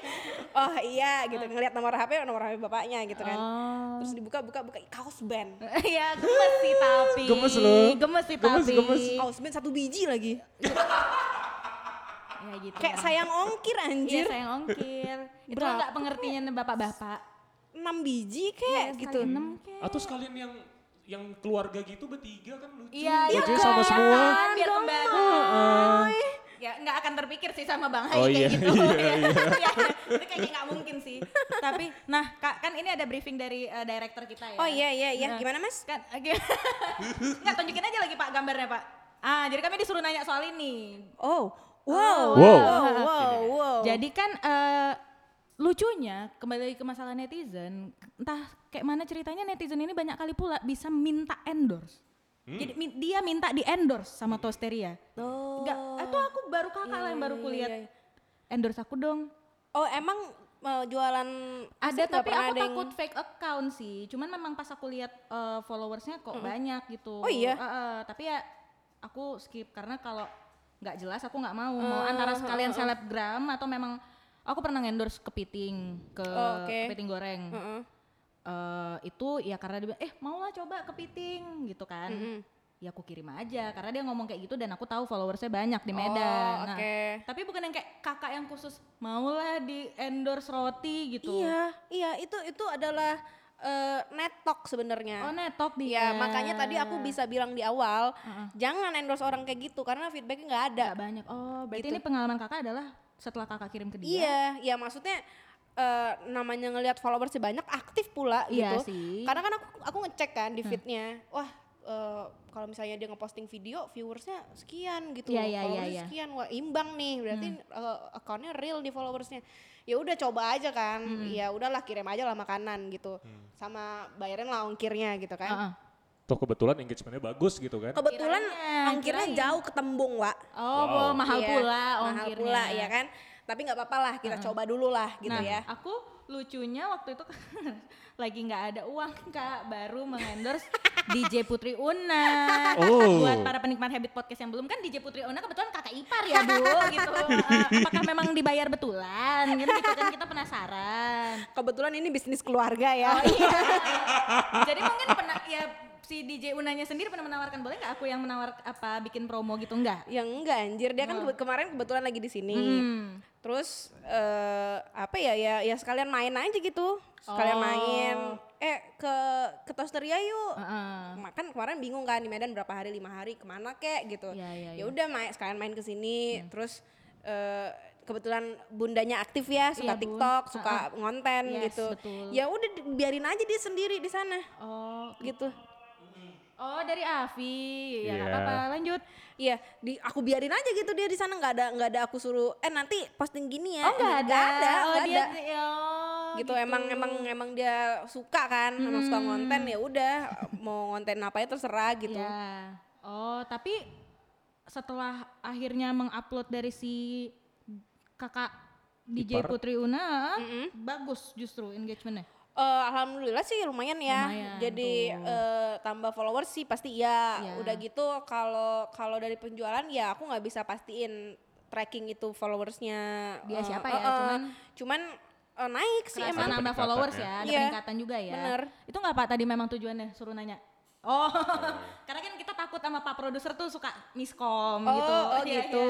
S1: oh iya gitu ngelihat nomor HP nomor HP bapaknya gitu kan
S2: Oh.
S1: terus dibuka buka buka ih, kaos band
S2: [laughs] Iya gemes sih tapi.
S3: Gemes loh.
S2: Gemes sih
S3: Gemes,
S2: tapi. Oh,
S3: gemes.
S1: kaos band satu biji lagi
S2: Ya gitu.
S1: kayak
S2: lah.
S1: sayang ongkir
S2: Iya
S1: anjir
S2: sayang ongkir. Itu
S1: Berapa?
S2: enggak pengertiannya bapak-bapak.
S1: enam biji kek gitu
S2: Sekali Iya, enam kek.
S3: Atau sekalian yang yang keluarga gitu bertiga kan lucu.
S2: Iya, iya
S3: Wajahnya sama
S2: kan,
S3: semua.
S2: Biar kembali. Ya nggak akan terpikir sih sama Bang Hai
S3: Oh,
S2: kayak
S3: iya,
S2: gitu.
S3: iya,
S2: [laughs] Ya, itu kayaknya nggak mungkin sih. Tapi nah Kak, kan ini ada briefing dari eh, director kita ya.
S1: oh iya iya iya
S2: Nah.
S1: gimana mas
S2: Kan oke. [laughs] Nggak, tunjukin aja lagi Pak gambarnya, Pak. Ah, jadi kami disuruh nanya soal ini.
S1: oh wow
S3: Wow.
S1: wow wow, wow.
S2: Jadi kan eh, lucunya kembali lagi ke masalah netizen, entah kayak mana ceritanya netizen ini banyak kali pula bisa minta endorse. Jadi min- dia minta di endorse sama Tosteria.
S1: Oh.
S2: Enggak, itu aku baru kakak lah yang baru
S1: iya,
S2: kulihat.
S1: iya,
S2: Endorse aku dong.
S1: oh emang eh, jualan
S2: Ada
S1: nggak
S2: tapi
S1: pernah
S2: aku
S1: ada yang-
S2: takut fake account sih. Cuman memang pas aku lihat eh, followersnya kok banyak gitu.
S1: Oh iya?
S2: Eh, eh, tapi ya aku skip karena kalau nggak jelas aku nggak mau. Mau
S1: Hmm,
S2: antara sekalian selebgram atau memang aku pernah endorse kepiting ke
S1: Oh, oke.
S2: kepiting goreng.
S1: Heeh.
S2: Eh, itu ya karena dia bilang, eh maulah coba kepiting gitu kan.
S1: Hmm, Oh,
S2: Ya aku kirim aja karena dia ngomong kayak gitu dan aku tahu followersnya banyak di Medan.
S1: Oh,
S2: Nah,
S1: oke.
S2: tapi bukan yang kayak kakak yang khusus maulah di endorse roti gitu.
S1: Iya, iya itu itu adalah eh, net talk
S2: Oh
S1: sebenarnya.
S2: netok dia.
S1: Iya, makanya tadi aku bisa bilang di awal, jangan endorse orang kayak gitu karena feedbacknya nggak ada. gitu.
S2: Gak banyak. Oh berarti ini pengalaman kakak adalah setelah kakak kirim ke dia.
S1: Iya, iya maksudnya eh, namanya ngelihat followers banyak, aktif pula
S2: Iya
S1: gitu.
S2: sih.
S1: Karena kan aku aku ngecek kan di feednya, wah eh, kalau misalnya dia ngeposting video, viewersnya sekian gitu,
S2: Iya, iya, iya,
S1: followersnya
S2: iya. Hmm.
S1: sekian, wah imbang nih, berarti eh, accountnya real di followersnya. Ya udah coba aja kan,
S2: Hmm.
S1: ya udahlah kirim aja lah makanan gitu, sama bayarin lah ongkirnya gitu kan.
S2: Heeh.
S3: Toh kebetulan engagementnya bagus gitu kan.
S1: Kebetulan
S2: Kirain,
S1: ongkirnya
S2: kirain.
S1: jauh ketembung, Wak.
S2: Oh
S3: Wow.
S2: mahal
S1: Iya,
S2: pula
S1: mahal
S2: ongkirnya. Ah.
S1: pula ya kan. Tapi nggak apa-apa lah, kita coba dulu lah gitu
S2: nah,
S1: ya.
S2: aku lucunya waktu itu [laughs] lagi nggak ada uang kak baru
S1: [laughs]
S2: mengendorse DJ Putri Una
S3: Oh.
S2: buat para penikmat Habit Podcast yang belum kan DJ Putri Una kebetulan kakak ipar ya bu
S1: [laughs]
S2: gitu Eh, apakah memang dibayar betulan gitu, gitu kan kita penasaran
S1: Kebetulan ini bisnis keluarga ya.
S2: Oh iya. [laughs] Jadi mungkin pernah ya si DJ Unanya sendiri pernah menawarkan boleh nggak aku yang menawar apa bikin promo gitu nggak?
S1: [laughs] Yang Ya enggak anjir, dia kan kebe- kemarin kebetulan lagi di sini.
S2: Hmm.
S1: Terus eh apa ya ya ya sekalian main aja gitu. Sekalian
S2: Oh.
S1: main eh ke ke Tosteria yuk.
S2: Heeh.
S1: Makan kemarin bingung kan di Medan berapa hari, lima hari kemana kek gitu.
S2: Iya, iya, iya. Hmm.
S1: Ya udah main sekalian main ke sini. Terus eh kebetulan bundanya aktif ya, suka
S2: Iya, Bun.
S1: TikTok, suka ngonten
S2: Yes,
S1: gitu.
S2: betul.
S1: Ya udah di- biarin aja dia sendiri di sana
S2: Oh,
S1: gitu.
S2: oh dari Avi ya nggak
S3: Iya.
S2: apa-apa lanjut.
S1: Iya, di aku biarin aja gitu dia di sana nggak ada nggak ada aku suruh eh nanti posting gini ya.
S2: Oh nggak ada.
S1: Nggak ada,
S2: oh
S1: nggak
S2: dia
S1: ada.
S2: oh,
S1: Gitu, emang emang emang dia suka kan, emang
S2: Hmm.
S1: suka ngonten ya udah mau ngonten apa ya terserah gitu.
S2: Ya. Oh tapi setelah akhirnya mengupload dari si kakak DJ
S3: Ipar.
S2: Putri Una bagus justru engagementnya.
S1: Eh, alhamdulillah sih lumayan ya.
S2: Lumayan,
S1: Jadi eh, tambah followers sih pasti iya.
S2: Iya.
S1: Udah gitu kalau kalau dari penjualan ya aku nggak bisa pastiin tracking itu followersnya eh,
S2: Dia siapa
S1: eh,
S2: ya,
S1: eh,
S2: cuman
S1: cuman eh, naik sih
S2: Kerasa
S1: emang
S2: nambah
S3: Ada peningkatan
S2: followers
S3: ya.
S2: ya, ada
S1: Iya,
S2: peningkatan juga ya.
S1: bener.
S2: Itu nggak Pak tadi memang tujuannya suruh nanya? Oh, [laughs] karena kan kita takut sama Pak Produser tuh suka miskom
S1: oh,
S2: gitu.
S1: oh
S2: Iya,
S1: gitu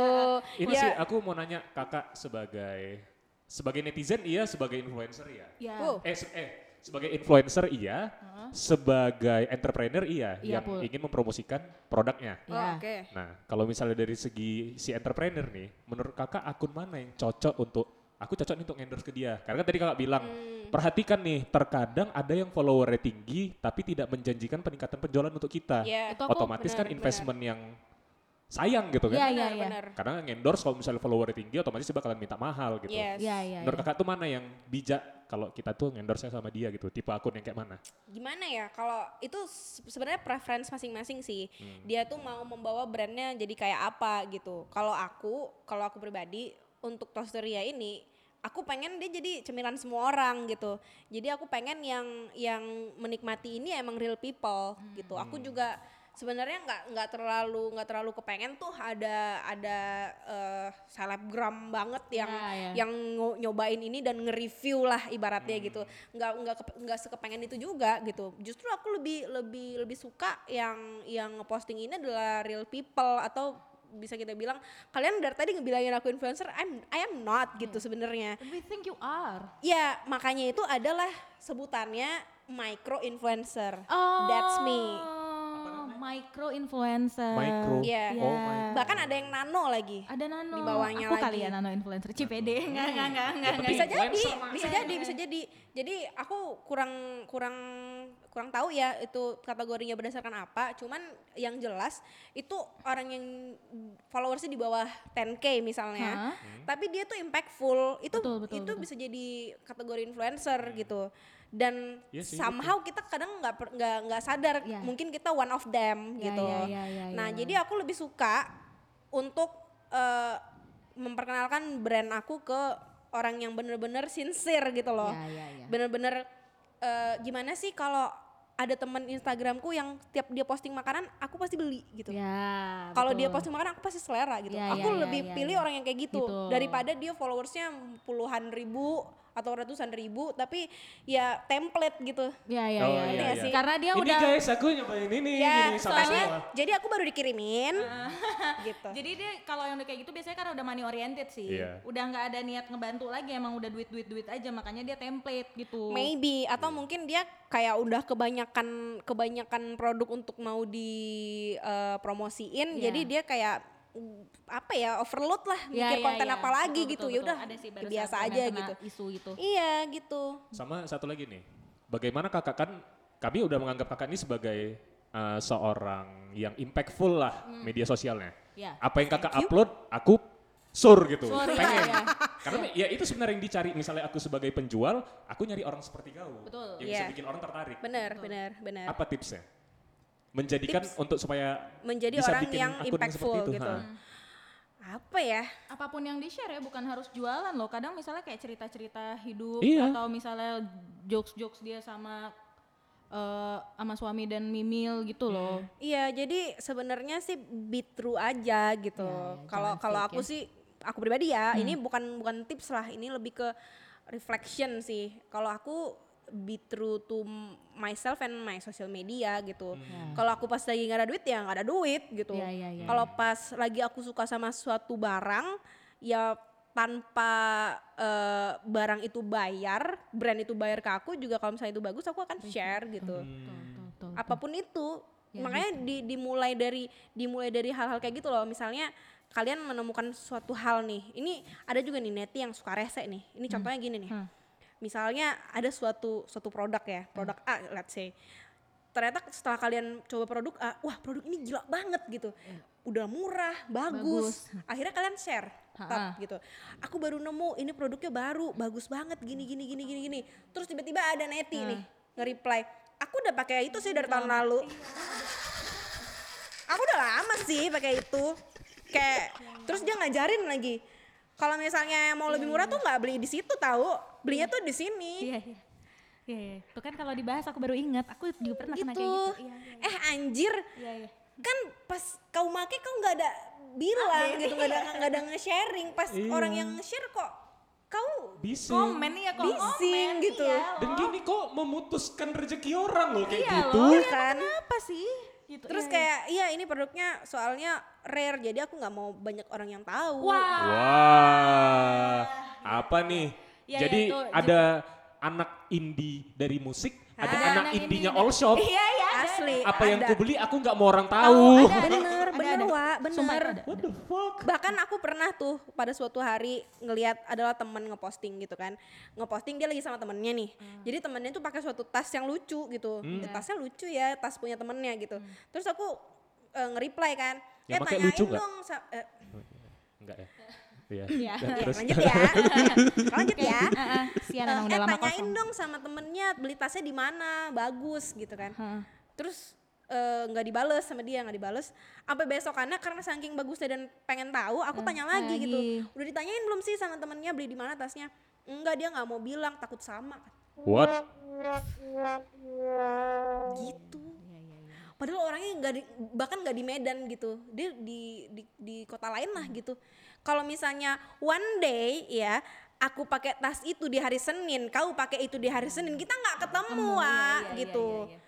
S2: iya.
S3: Ini
S1: Ya,
S3: sih aku mau nanya kakak sebagai sebagai netizen iya, sebagai influencer iya.
S2: Iya.
S1: Wow.
S3: Eh, se- eh sebagai influencer iya, sebagai entrepreneur iya,
S2: Iya,
S3: yang
S2: Pul.
S3: ingin mempromosikan produknya.
S1: oh,
S2: Iya.
S1: oke
S3: Nah, kalau misalnya dari segi si entrepreneur nih, menurut kakak akun mana yang cocok untuk aku cocok nih untuk endorse ke dia? Karena kan tadi kakak bilang perhatikan nih, terkadang ada yang followernya tinggi tapi tidak menjanjikan peningkatan penjualan untuk kita.
S1: Iya.
S2: Itu aku
S3: Otomatis kan
S1: benar,
S3: investment yang sayang gitu
S2: Iya,
S3: kan?
S2: iya,
S1: benar
S2: iya.
S1: benar
S3: Karena endorse kalau misalnya followernya tinggi, otomatis dia bakalan minta mahal gitu.
S1: yes
S2: Iya, iya.
S3: Menurut
S2: iya.
S3: kakak tuh mana yang bijak kalau kita tuh endorse sama dia gitu? Tipe akun yang kayak mana?
S1: gimana ya kalau itu se- sebenarnya preference masing-masing sih
S3: Hmm.
S1: dia tuh mau membawa brandnya jadi kayak apa gitu kalau aku kalau aku pribadi untuk Tosteria ini aku pengen dia jadi cemilan semua orang gitu jadi aku pengen yang yang menikmati ini emang real people gitu aku
S3: Hmm.
S1: juga sebenarnya nggak nggak terlalu nggak terlalu kepengen tuh ada ada eh, selebgram banget yang
S2: Ya, ya.
S1: yang ngo- nyobain ini dan nge-review lah ibaratnya gitu nggak nggak kep- nggak sekepengen itu juga gitu justru aku lebih lebih lebih suka yang yang ngeposting ini adalah real people atau bisa kita bilang kalian dari tadi ngebilangin aku influencer I'm I am not gitu sebenarnya
S2: We think you are.
S1: ya makanya itu adalah sebutannya micro influencer
S2: Oh,
S1: Oh. that's me
S2: Micro influencer.
S3: Micro.
S1: Iya.
S3: Oh my God.
S1: bahkan ada yang nano lagi
S2: Ada nano.
S1: Di bawahnya
S2: Aku kali
S1: lagi.
S2: ya nano influencer. CPD. Enggak, enggak, enggak, enggak.
S1: Ya, bisa
S3: Tapi
S1: jadi
S3: influencer mah.
S1: bisa jadi bisa jadi jadi aku kurang kurang kurang tahu ya itu kategorinya berdasarkan apa cuman yang jelas itu orang yang followersnya di bawah 10k misalnya
S2: Hah?
S1: tapi dia tuh impactful itu
S2: Betul, betul,
S1: itu
S2: betul. Hmm.
S1: bisa jadi kategori influencer gitu dan
S3: Iya sih,
S1: somehow kita kadang nggak per- nggak nggak sadar
S2: Iya.
S1: mungkin kita one of them
S2: Ya,
S1: gitu
S2: ya, ya, ya,
S1: nah
S2: ya.
S1: jadi aku lebih suka untuk eh, memperkenalkan brand aku ke orang yang bener-bener sincere gitu loh.
S2: Ya, ya, ya.
S1: Bener-bener eh, gimana sih kalau ada temen Instagramku yang tiap dia posting makanan aku pasti beli gitu.
S2: Ya,
S1: Kalau
S2: betul.
S1: dia posting makanan aku pasti selera gitu.
S2: Ya,
S1: aku
S2: ya, ya,
S1: lebih
S2: ya,
S1: pilih
S2: ya.
S1: orang yang kayak gitu
S2: Gitu.
S1: daripada dia followersnya puluhan ribu atau ratusan ribu tapi ya template gitu.
S2: Ya, ya,
S3: Oh,
S2: ya.
S3: iya,
S2: ya.
S1: iya.
S2: Karena dia
S3: ini
S2: udah
S3: guys, aku nyobain
S1: Ya,
S3: ini, ini Iya, sama
S1: soalnya
S3: semua.
S1: jadi aku baru dikirimin gitu.
S2: Jadi dia kalau yang udah kayak gitu biasanya karena udah money oriented sih.
S3: Iya.
S2: Udah nggak ada niat ngebantu lagi emang udah duit-duit-duit aja makanya dia template gitu.
S1: Maybe atau mungkin dia kayak udah kebanyakan kebanyakan produk untuk mau dipromosiin,
S2: Iya.
S1: jadi dia kayak mm, apa ya overload lah
S2: Ya,
S1: mikir
S2: ya,
S1: konten
S2: ya.
S1: apa lagi
S2: Betul,
S1: gitu
S2: betul,
S1: ya udah
S2: betul. Ada sih barusan
S1: biasa
S2: yang
S1: aja
S2: kena
S1: gitu
S2: Isu itu.
S1: iya gitu
S3: Sama satu lagi nih, bagaimana kakak kan kami udah menganggap kakak ini sebagai uh, seorang yang impactful lah media sosialnya.
S2: Hmm. Ya.
S3: Apa yang kakak upload, aku sur gitu,
S2: Sur, iya,
S3: pengen.
S2: iya.
S3: Karena ya itu sebenarnya yang dicari. Misalnya aku sebagai penjual, aku nyari orang seperti kau
S2: Betul. ya.
S3: yang bisa
S1: Iya.
S3: bikin orang tertarik.
S1: benar benar benar
S3: Apa tipsnya? Menjadikan untuk supaya
S1: menjadi
S3: bisa
S1: orang
S3: bikin
S1: yang
S3: akun seperti
S1: impactful
S3: itu,
S1: gitu
S3: ha.
S2: Hmm.
S1: apa ya
S2: Apapun yang di share ya bukan harus jualan loh. Kadang misalnya kayak cerita-cerita hidup
S3: Iya.
S2: atau misalnya jokes-jokes dia sama eh sama suami dan Mimil
S3: Hmm,
S2: gitu loh.
S1: Iya, jadi sebenarnya sih be true aja gitu. Kalau kalau aku sih aku pribadi ya, ini bukan bukan tips lah, ini lebih ke reflection sih. Kalau aku be true to m- myself and my social media gitu. Kalau aku pas lagi nggak ada duit ya nggak ada duit gitu.
S2: Iya, iya, iya.
S1: Kalau pas lagi aku suka sama suatu barang ya tanpa eh, barang itu bayar, brand itu bayar ke aku juga kalau misalnya itu bagus aku akan share gitu
S3: Hmm.
S2: Betul, betul, betul. Ya, gitu.
S1: apapun itu makanya di- dimulai dari dimulai dari hal-hal kayak gitu loh misalnya kalian menemukan suatu hal nih ini ada juga nih neti yang suka rese nih ini contohnya gini nih
S2: Hmm.
S1: misalnya ada suatu suatu produk ya produk A let's say ternyata setelah kalian coba produk A wah produk ini gila banget gitu udah murah bagus, akhirnya kalian share
S2: Ha-ha.
S1: tat, gitu aku baru nemu ini produknya baru bagus banget gini gini gini gini gini terus tiba-tiba ada neti nih nge-reply aku udah pakai itu sih dari tahun lalu aku udah lama sih pakai itu kayak terus dia ngajarin lagi kalau misalnya mau lebih murah tuh nggak beli di situ tahu belinya tuh di sini
S2: Iya, iya. Iya, iya. Itu kan kalau dibahas aku baru ingat. Aku juga pernah kena
S1: gitu
S2: kayak gitu. Iya, iya.
S1: eh anjir
S2: Iya, iya.
S1: kan pas kau make kau nggak ada bilang gitu nggak ada nggak ada nge-sharing pas
S3: Iya.
S1: orang yang nge-share kok kau
S3: Bisa.
S2: komen iya kok
S1: Gitu. Bising
S2: komen,
S1: gitu.
S2: iya
S3: Dan
S2: loh.
S3: gini kok memutuskan rezeki orang loh kayak
S2: Iya
S3: gitu.
S2: loh,
S1: Iya
S2: iya
S1: kan?
S2: Kenapa sih? Gitu.
S1: terus
S2: iya, iya.
S1: kayak iya ini produknya soalnya rare jadi aku nggak mau banyak orang yang tahu
S2: wah
S3: Wah, apa nih?
S2: Ya, ya,
S3: Jadi
S2: itu.
S3: ada anak indie dari musik, ada
S1: Ada
S3: anak
S2: anak
S3: indinya
S2: indie.
S3: all shop.
S2: Iya ya.
S1: asli
S3: Apa yang
S1: ada.
S3: ku beli aku nggak mau orang tahu.
S2: ada.
S1: bener
S2: Ada,
S1: bener
S2: ada.
S1: Wak,
S2: Sumpah
S1: bener
S2: itu ada.
S3: What the fuck?
S1: bahkan aku pernah tuh pada suatu hari ngelihat adalah temen ngeposting gitu kan ngeposting dia lagi sama temennya nih jadi temennya tuh pakai suatu tas yang lucu gitu Eh, tasnya lucu ya tas punya temennya gitu terus aku eh, nge-reply kan
S3: Yang
S1: eh
S3: pakai
S1: tanyain
S3: lucu nggak?"
S1: dong sa- eh,
S3: Enggak ya. Iya.
S2: Iya.
S3: Ya, terus
S1: lanjut ya lanjut ya
S2: Ah, ah, Sian emang udah
S1: eh
S2: lama
S1: tanyain
S2: kosong.
S1: dong sama temennya beli tasnya di mana bagus gitu kan
S2: Heeh.
S1: terus eh, nggak dibales sama dia nggak dibales sampai besokannya karena saking bagusnya dan pengen tahu aku tanya lagi,
S2: lagi.
S1: gitu udah ditanyain belum sih sama temennya beli di mana tasnya enggak dia nggak mau bilang takut sama
S3: what?
S1: gitu
S2: Iya,
S1: padahal orangnya nggak di- bahkan nggak di Medan gitu dia di di, di kota lain lah gitu kalau misalnya one day ya aku pakai tas itu di hari Senin kau pakai itu di hari Senin kita nggak ketemu
S2: Iya,
S1: Wak,
S2: iya, iya,
S1: gitu
S2: iya, iya.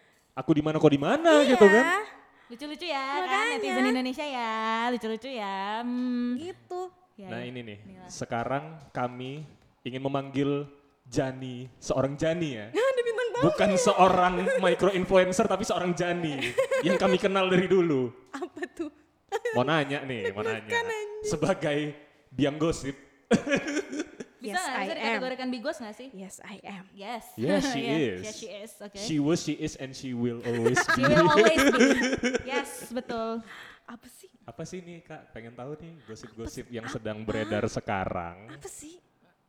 S3: Aku di mana kok di mana gitu kan?
S1: Iya,
S2: Lucu-lucu ya kan
S1: Makanya.
S2: netizen Indonesia ya, lucu-lucu ya. Hmm.
S1: gitu
S2: Ya,
S3: Nah
S2: ya.
S3: ini nih, sekarang kami ingin memanggil Jani, seorang Jani ya.
S1: ada bintang tamu
S3: Bukan seorang micro influencer tapi seorang Jani yang kami kenal dari dulu.
S1: apa tuh
S3: Mau nanya nih, mau nanya. Sebagai biang gosip.
S1: Yes,
S2: Bisa
S1: I
S2: nggak bisa
S1: am.
S2: dikategorikan bigos nggak sih?
S1: yes I am
S2: Yes. [laughs]
S3: Yeah, she is.
S2: Yeah, she is. Oke.
S3: She was, she is, and she will always
S2: She
S3: be.
S2: will always
S3: [laughs]
S2: be. Yes, betul.
S1: apa sih
S3: Apa sih nih kak? Pengen tahu nih gosip-gosip yang sedang beredar sekarang.
S1: apa sih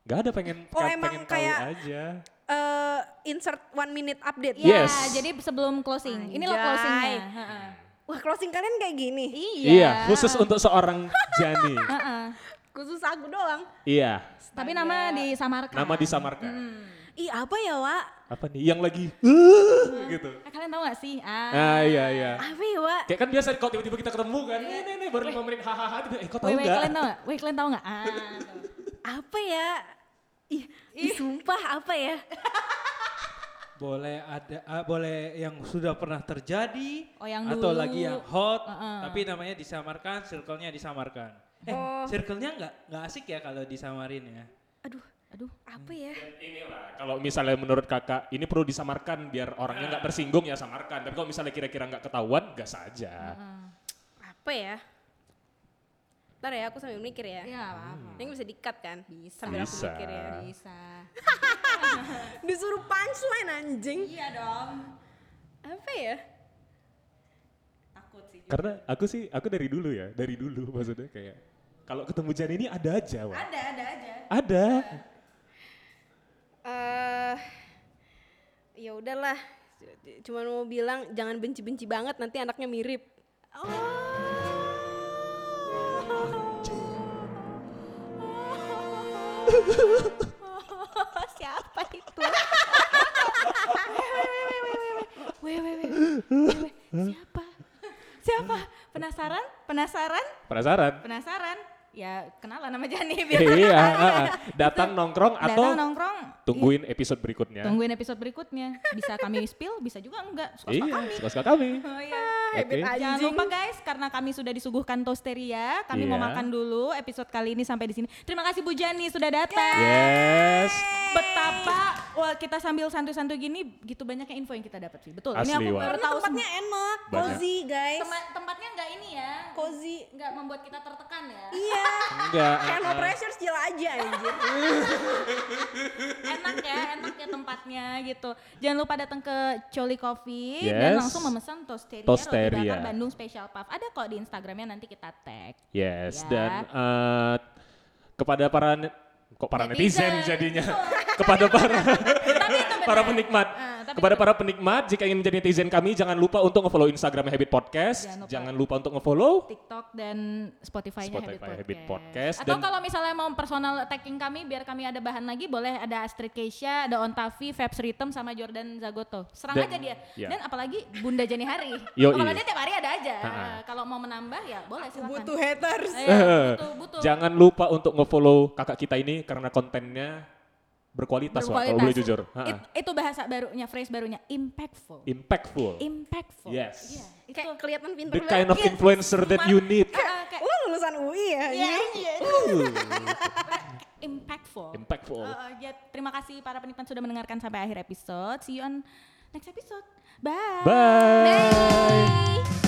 S3: Gak ada pengen
S1: Oh,
S3: ka-
S1: emang
S3: pengen tahu
S1: kayak-
S3: aja.
S1: Eh, insert one minute update
S2: Ya,
S3: Yes.
S2: jadi sebelum closing. Ini loh
S1: Anjay.
S2: closingnya. Heeh.
S1: wah closing kalian kayak gini
S2: Iya.
S3: Iya, khusus untuk seorang Jani.
S2: Heeh.
S1: khusus aku doang
S3: iya,
S2: Tapi nama disamarkan.
S3: nama disamarkan.
S1: ih apa ya Wak
S3: Apa nih? Yang lagi "Uh," gitu.
S2: Eh, kalian tahu nggak sih? Ah.
S3: Ah iya iya.
S1: apa ya Wak
S3: Kayak kan biasa kalau tiba-tiba kita ketemu kan, ini nih, nih baru lima menit hahaha, tiba-tiba, eh kok tahu
S2: Wait, wait, kalian
S3: nggak?
S2: tahu nggak? Wait, kalian tahu nggak? Ah, tuh.
S1: apa ya ih, ih, sumpah apa ya
S4: Boleh ada ah, boleh yang sudah pernah terjadi
S2: Oh, yang
S4: atau
S2: dulu.
S4: lagi yang hot
S2: Heeh.
S4: tapi namanya disamarkan, circle-nya disamarkan.
S1: Oh.
S4: Eh,
S2: Oh.
S4: circle-nya nggak nggak asik ya kalau disamarin ya.
S1: aduh
S2: Aduh.
S1: apa ya
S3: Inilah, kalau misalnya menurut kakak, ini perlu disamarkan biar orangnya nggak tersinggung ya samarkan. Tapi kalau misalnya kira-kira nggak ketahuan, gas aja.
S1: apa ya ntar ya aku sambil mikir [laughs] ya
S2: Iya, nggak apa-apa.
S1: ini bisa dikat kan bisa sambil aku
S3: Bisa.
S1: mikir ya
S2: Bisa.
S1: disuruh punchline anjing
S2: Iya dong.
S1: apa ya
S2: Takut sih.
S3: Karena aku sih, aku dari dulu ya, dari dulu [laughs] maksudnya kayak kalau ketemu Jan ini ada aja, Wak.
S2: Ada, ada aja.
S3: Ada.
S1: eh ya udahlah C- cuman mau bilang jangan benci-benci banget nanti anaknya mirip Oh.
S2: Oh, siapa itu? Weh, weh, weh, weh, weh, weh, weh, weh, weh, weh, siapa? Siapa? Penasaran? Penasaran?
S3: Penasaran?
S2: Penasaran? Ya kenalan sama Jani biar
S3: iya,
S2: penasaran.
S3: heeh. datang nongkrong
S2: Datang
S3: atau
S2: nongkrong. Iya,
S3: tungguin episode berikutnya.
S2: Tungguin episode berikutnya. Bisa kami spill, bisa juga enggak. Suka-suka
S3: iya,
S2: kami.
S3: suka-suka kami.
S2: Oh, iya.
S3: Oke.
S2: Jangan lupa guys, karena kami sudah disuguhkan tosteria, kami mau
S3: Iya.
S2: makan dulu. Episode kali ini sampai di sini. Terima kasih Bu Jani sudah datang.
S3: Yes.
S2: Betapa wah kita sambil santuy-santuy gini gitu banyaknya info yang kita dapat sih. Betul.
S3: Asli,
S2: ini aku
S3: Wak.
S2: baru
S1: Karena
S2: tahu
S1: tempatnya
S2: semua.
S1: enak,
S3: Banyak.
S1: cozy guys.
S2: Tema- tempatnya nggak ini ya.
S1: cozy.
S2: Nggak membuat kita tertekan ya.
S1: Iya.
S3: Enggak.
S1: Kayak no
S3: heeh.
S1: pressure chill aja anjir.
S2: enak ya, enak ya tempatnya gitu. Jangan lupa datang ke Coli Coffee dan
S3: Yes.
S2: langsung memesan tosteria, roti
S3: Tosteria.
S2: bakar Bandung Special Puff. Ada kok di Instagramnya nanti kita tag.
S3: Yes,
S2: Ya.
S3: dan eh, kepada para ne- kok para netizen,
S2: Netizen.
S3: jadinya [laughs] kepada para
S2: Tapi itu benar.
S3: para penikmat
S2: Ah, tapi tapi
S3: Kepada
S2: tetap-
S3: para penikmat, jika ingin menjadi netizen kami, jangan lupa untuk nge-follow Instagram Habit Podcast.
S2: Jangan lupa.
S3: Jangan lupa untuk nge-follow
S2: TikTok dan Spotify-nya
S3: Spotify
S2: Habit,
S3: Habit
S2: Podcast.
S3: Podcast
S2: Atau
S3: dan-
S2: kalau misalnya mau personal attacking kami biar kami ada bahan lagi boleh ada Astrid Keisha, ada Ontavi, Febs Ritem sama Jordan Zagoto. Serang
S3: Dan-
S2: aja dia.
S3: ya.
S2: Dan apalagi Bunda Jani Hari.
S3: Yoi.
S2: Kalau dia tiap hari ada aja.
S3: Ha-ha.
S2: Kalau mau menambah ya boleh silakan.
S1: Butuh haters.
S3: [laughs]
S2: Eh, butuh, butuh.
S3: Jangan lupa untuk nge-follow kakak kita ini karena kontennya berkualitas, Wak, kalau
S2: Berkualitas.
S3: boleh jujur. Ha-ha.
S2: It- itu bahasa barunya, phrase barunya impactful.
S3: Impactful.
S2: impactful.
S3: Yes.
S2: Iya, itu.
S1: Kayak kelihatan pinter
S3: The
S1: banget.
S3: kind of
S1: Iya.
S3: influencer that you need.
S2: Ah, ah, kayak
S1: Lu lulusan UI ya?
S2: Iya,
S1: anjing?
S2: iya. impactful.
S3: Impactful.
S2: Uh, uh, ya, terima kasih para penikmat sudah mendengarkan sampai akhir episode. See you on next episode. Bye.
S3: Bye.
S2: Bye.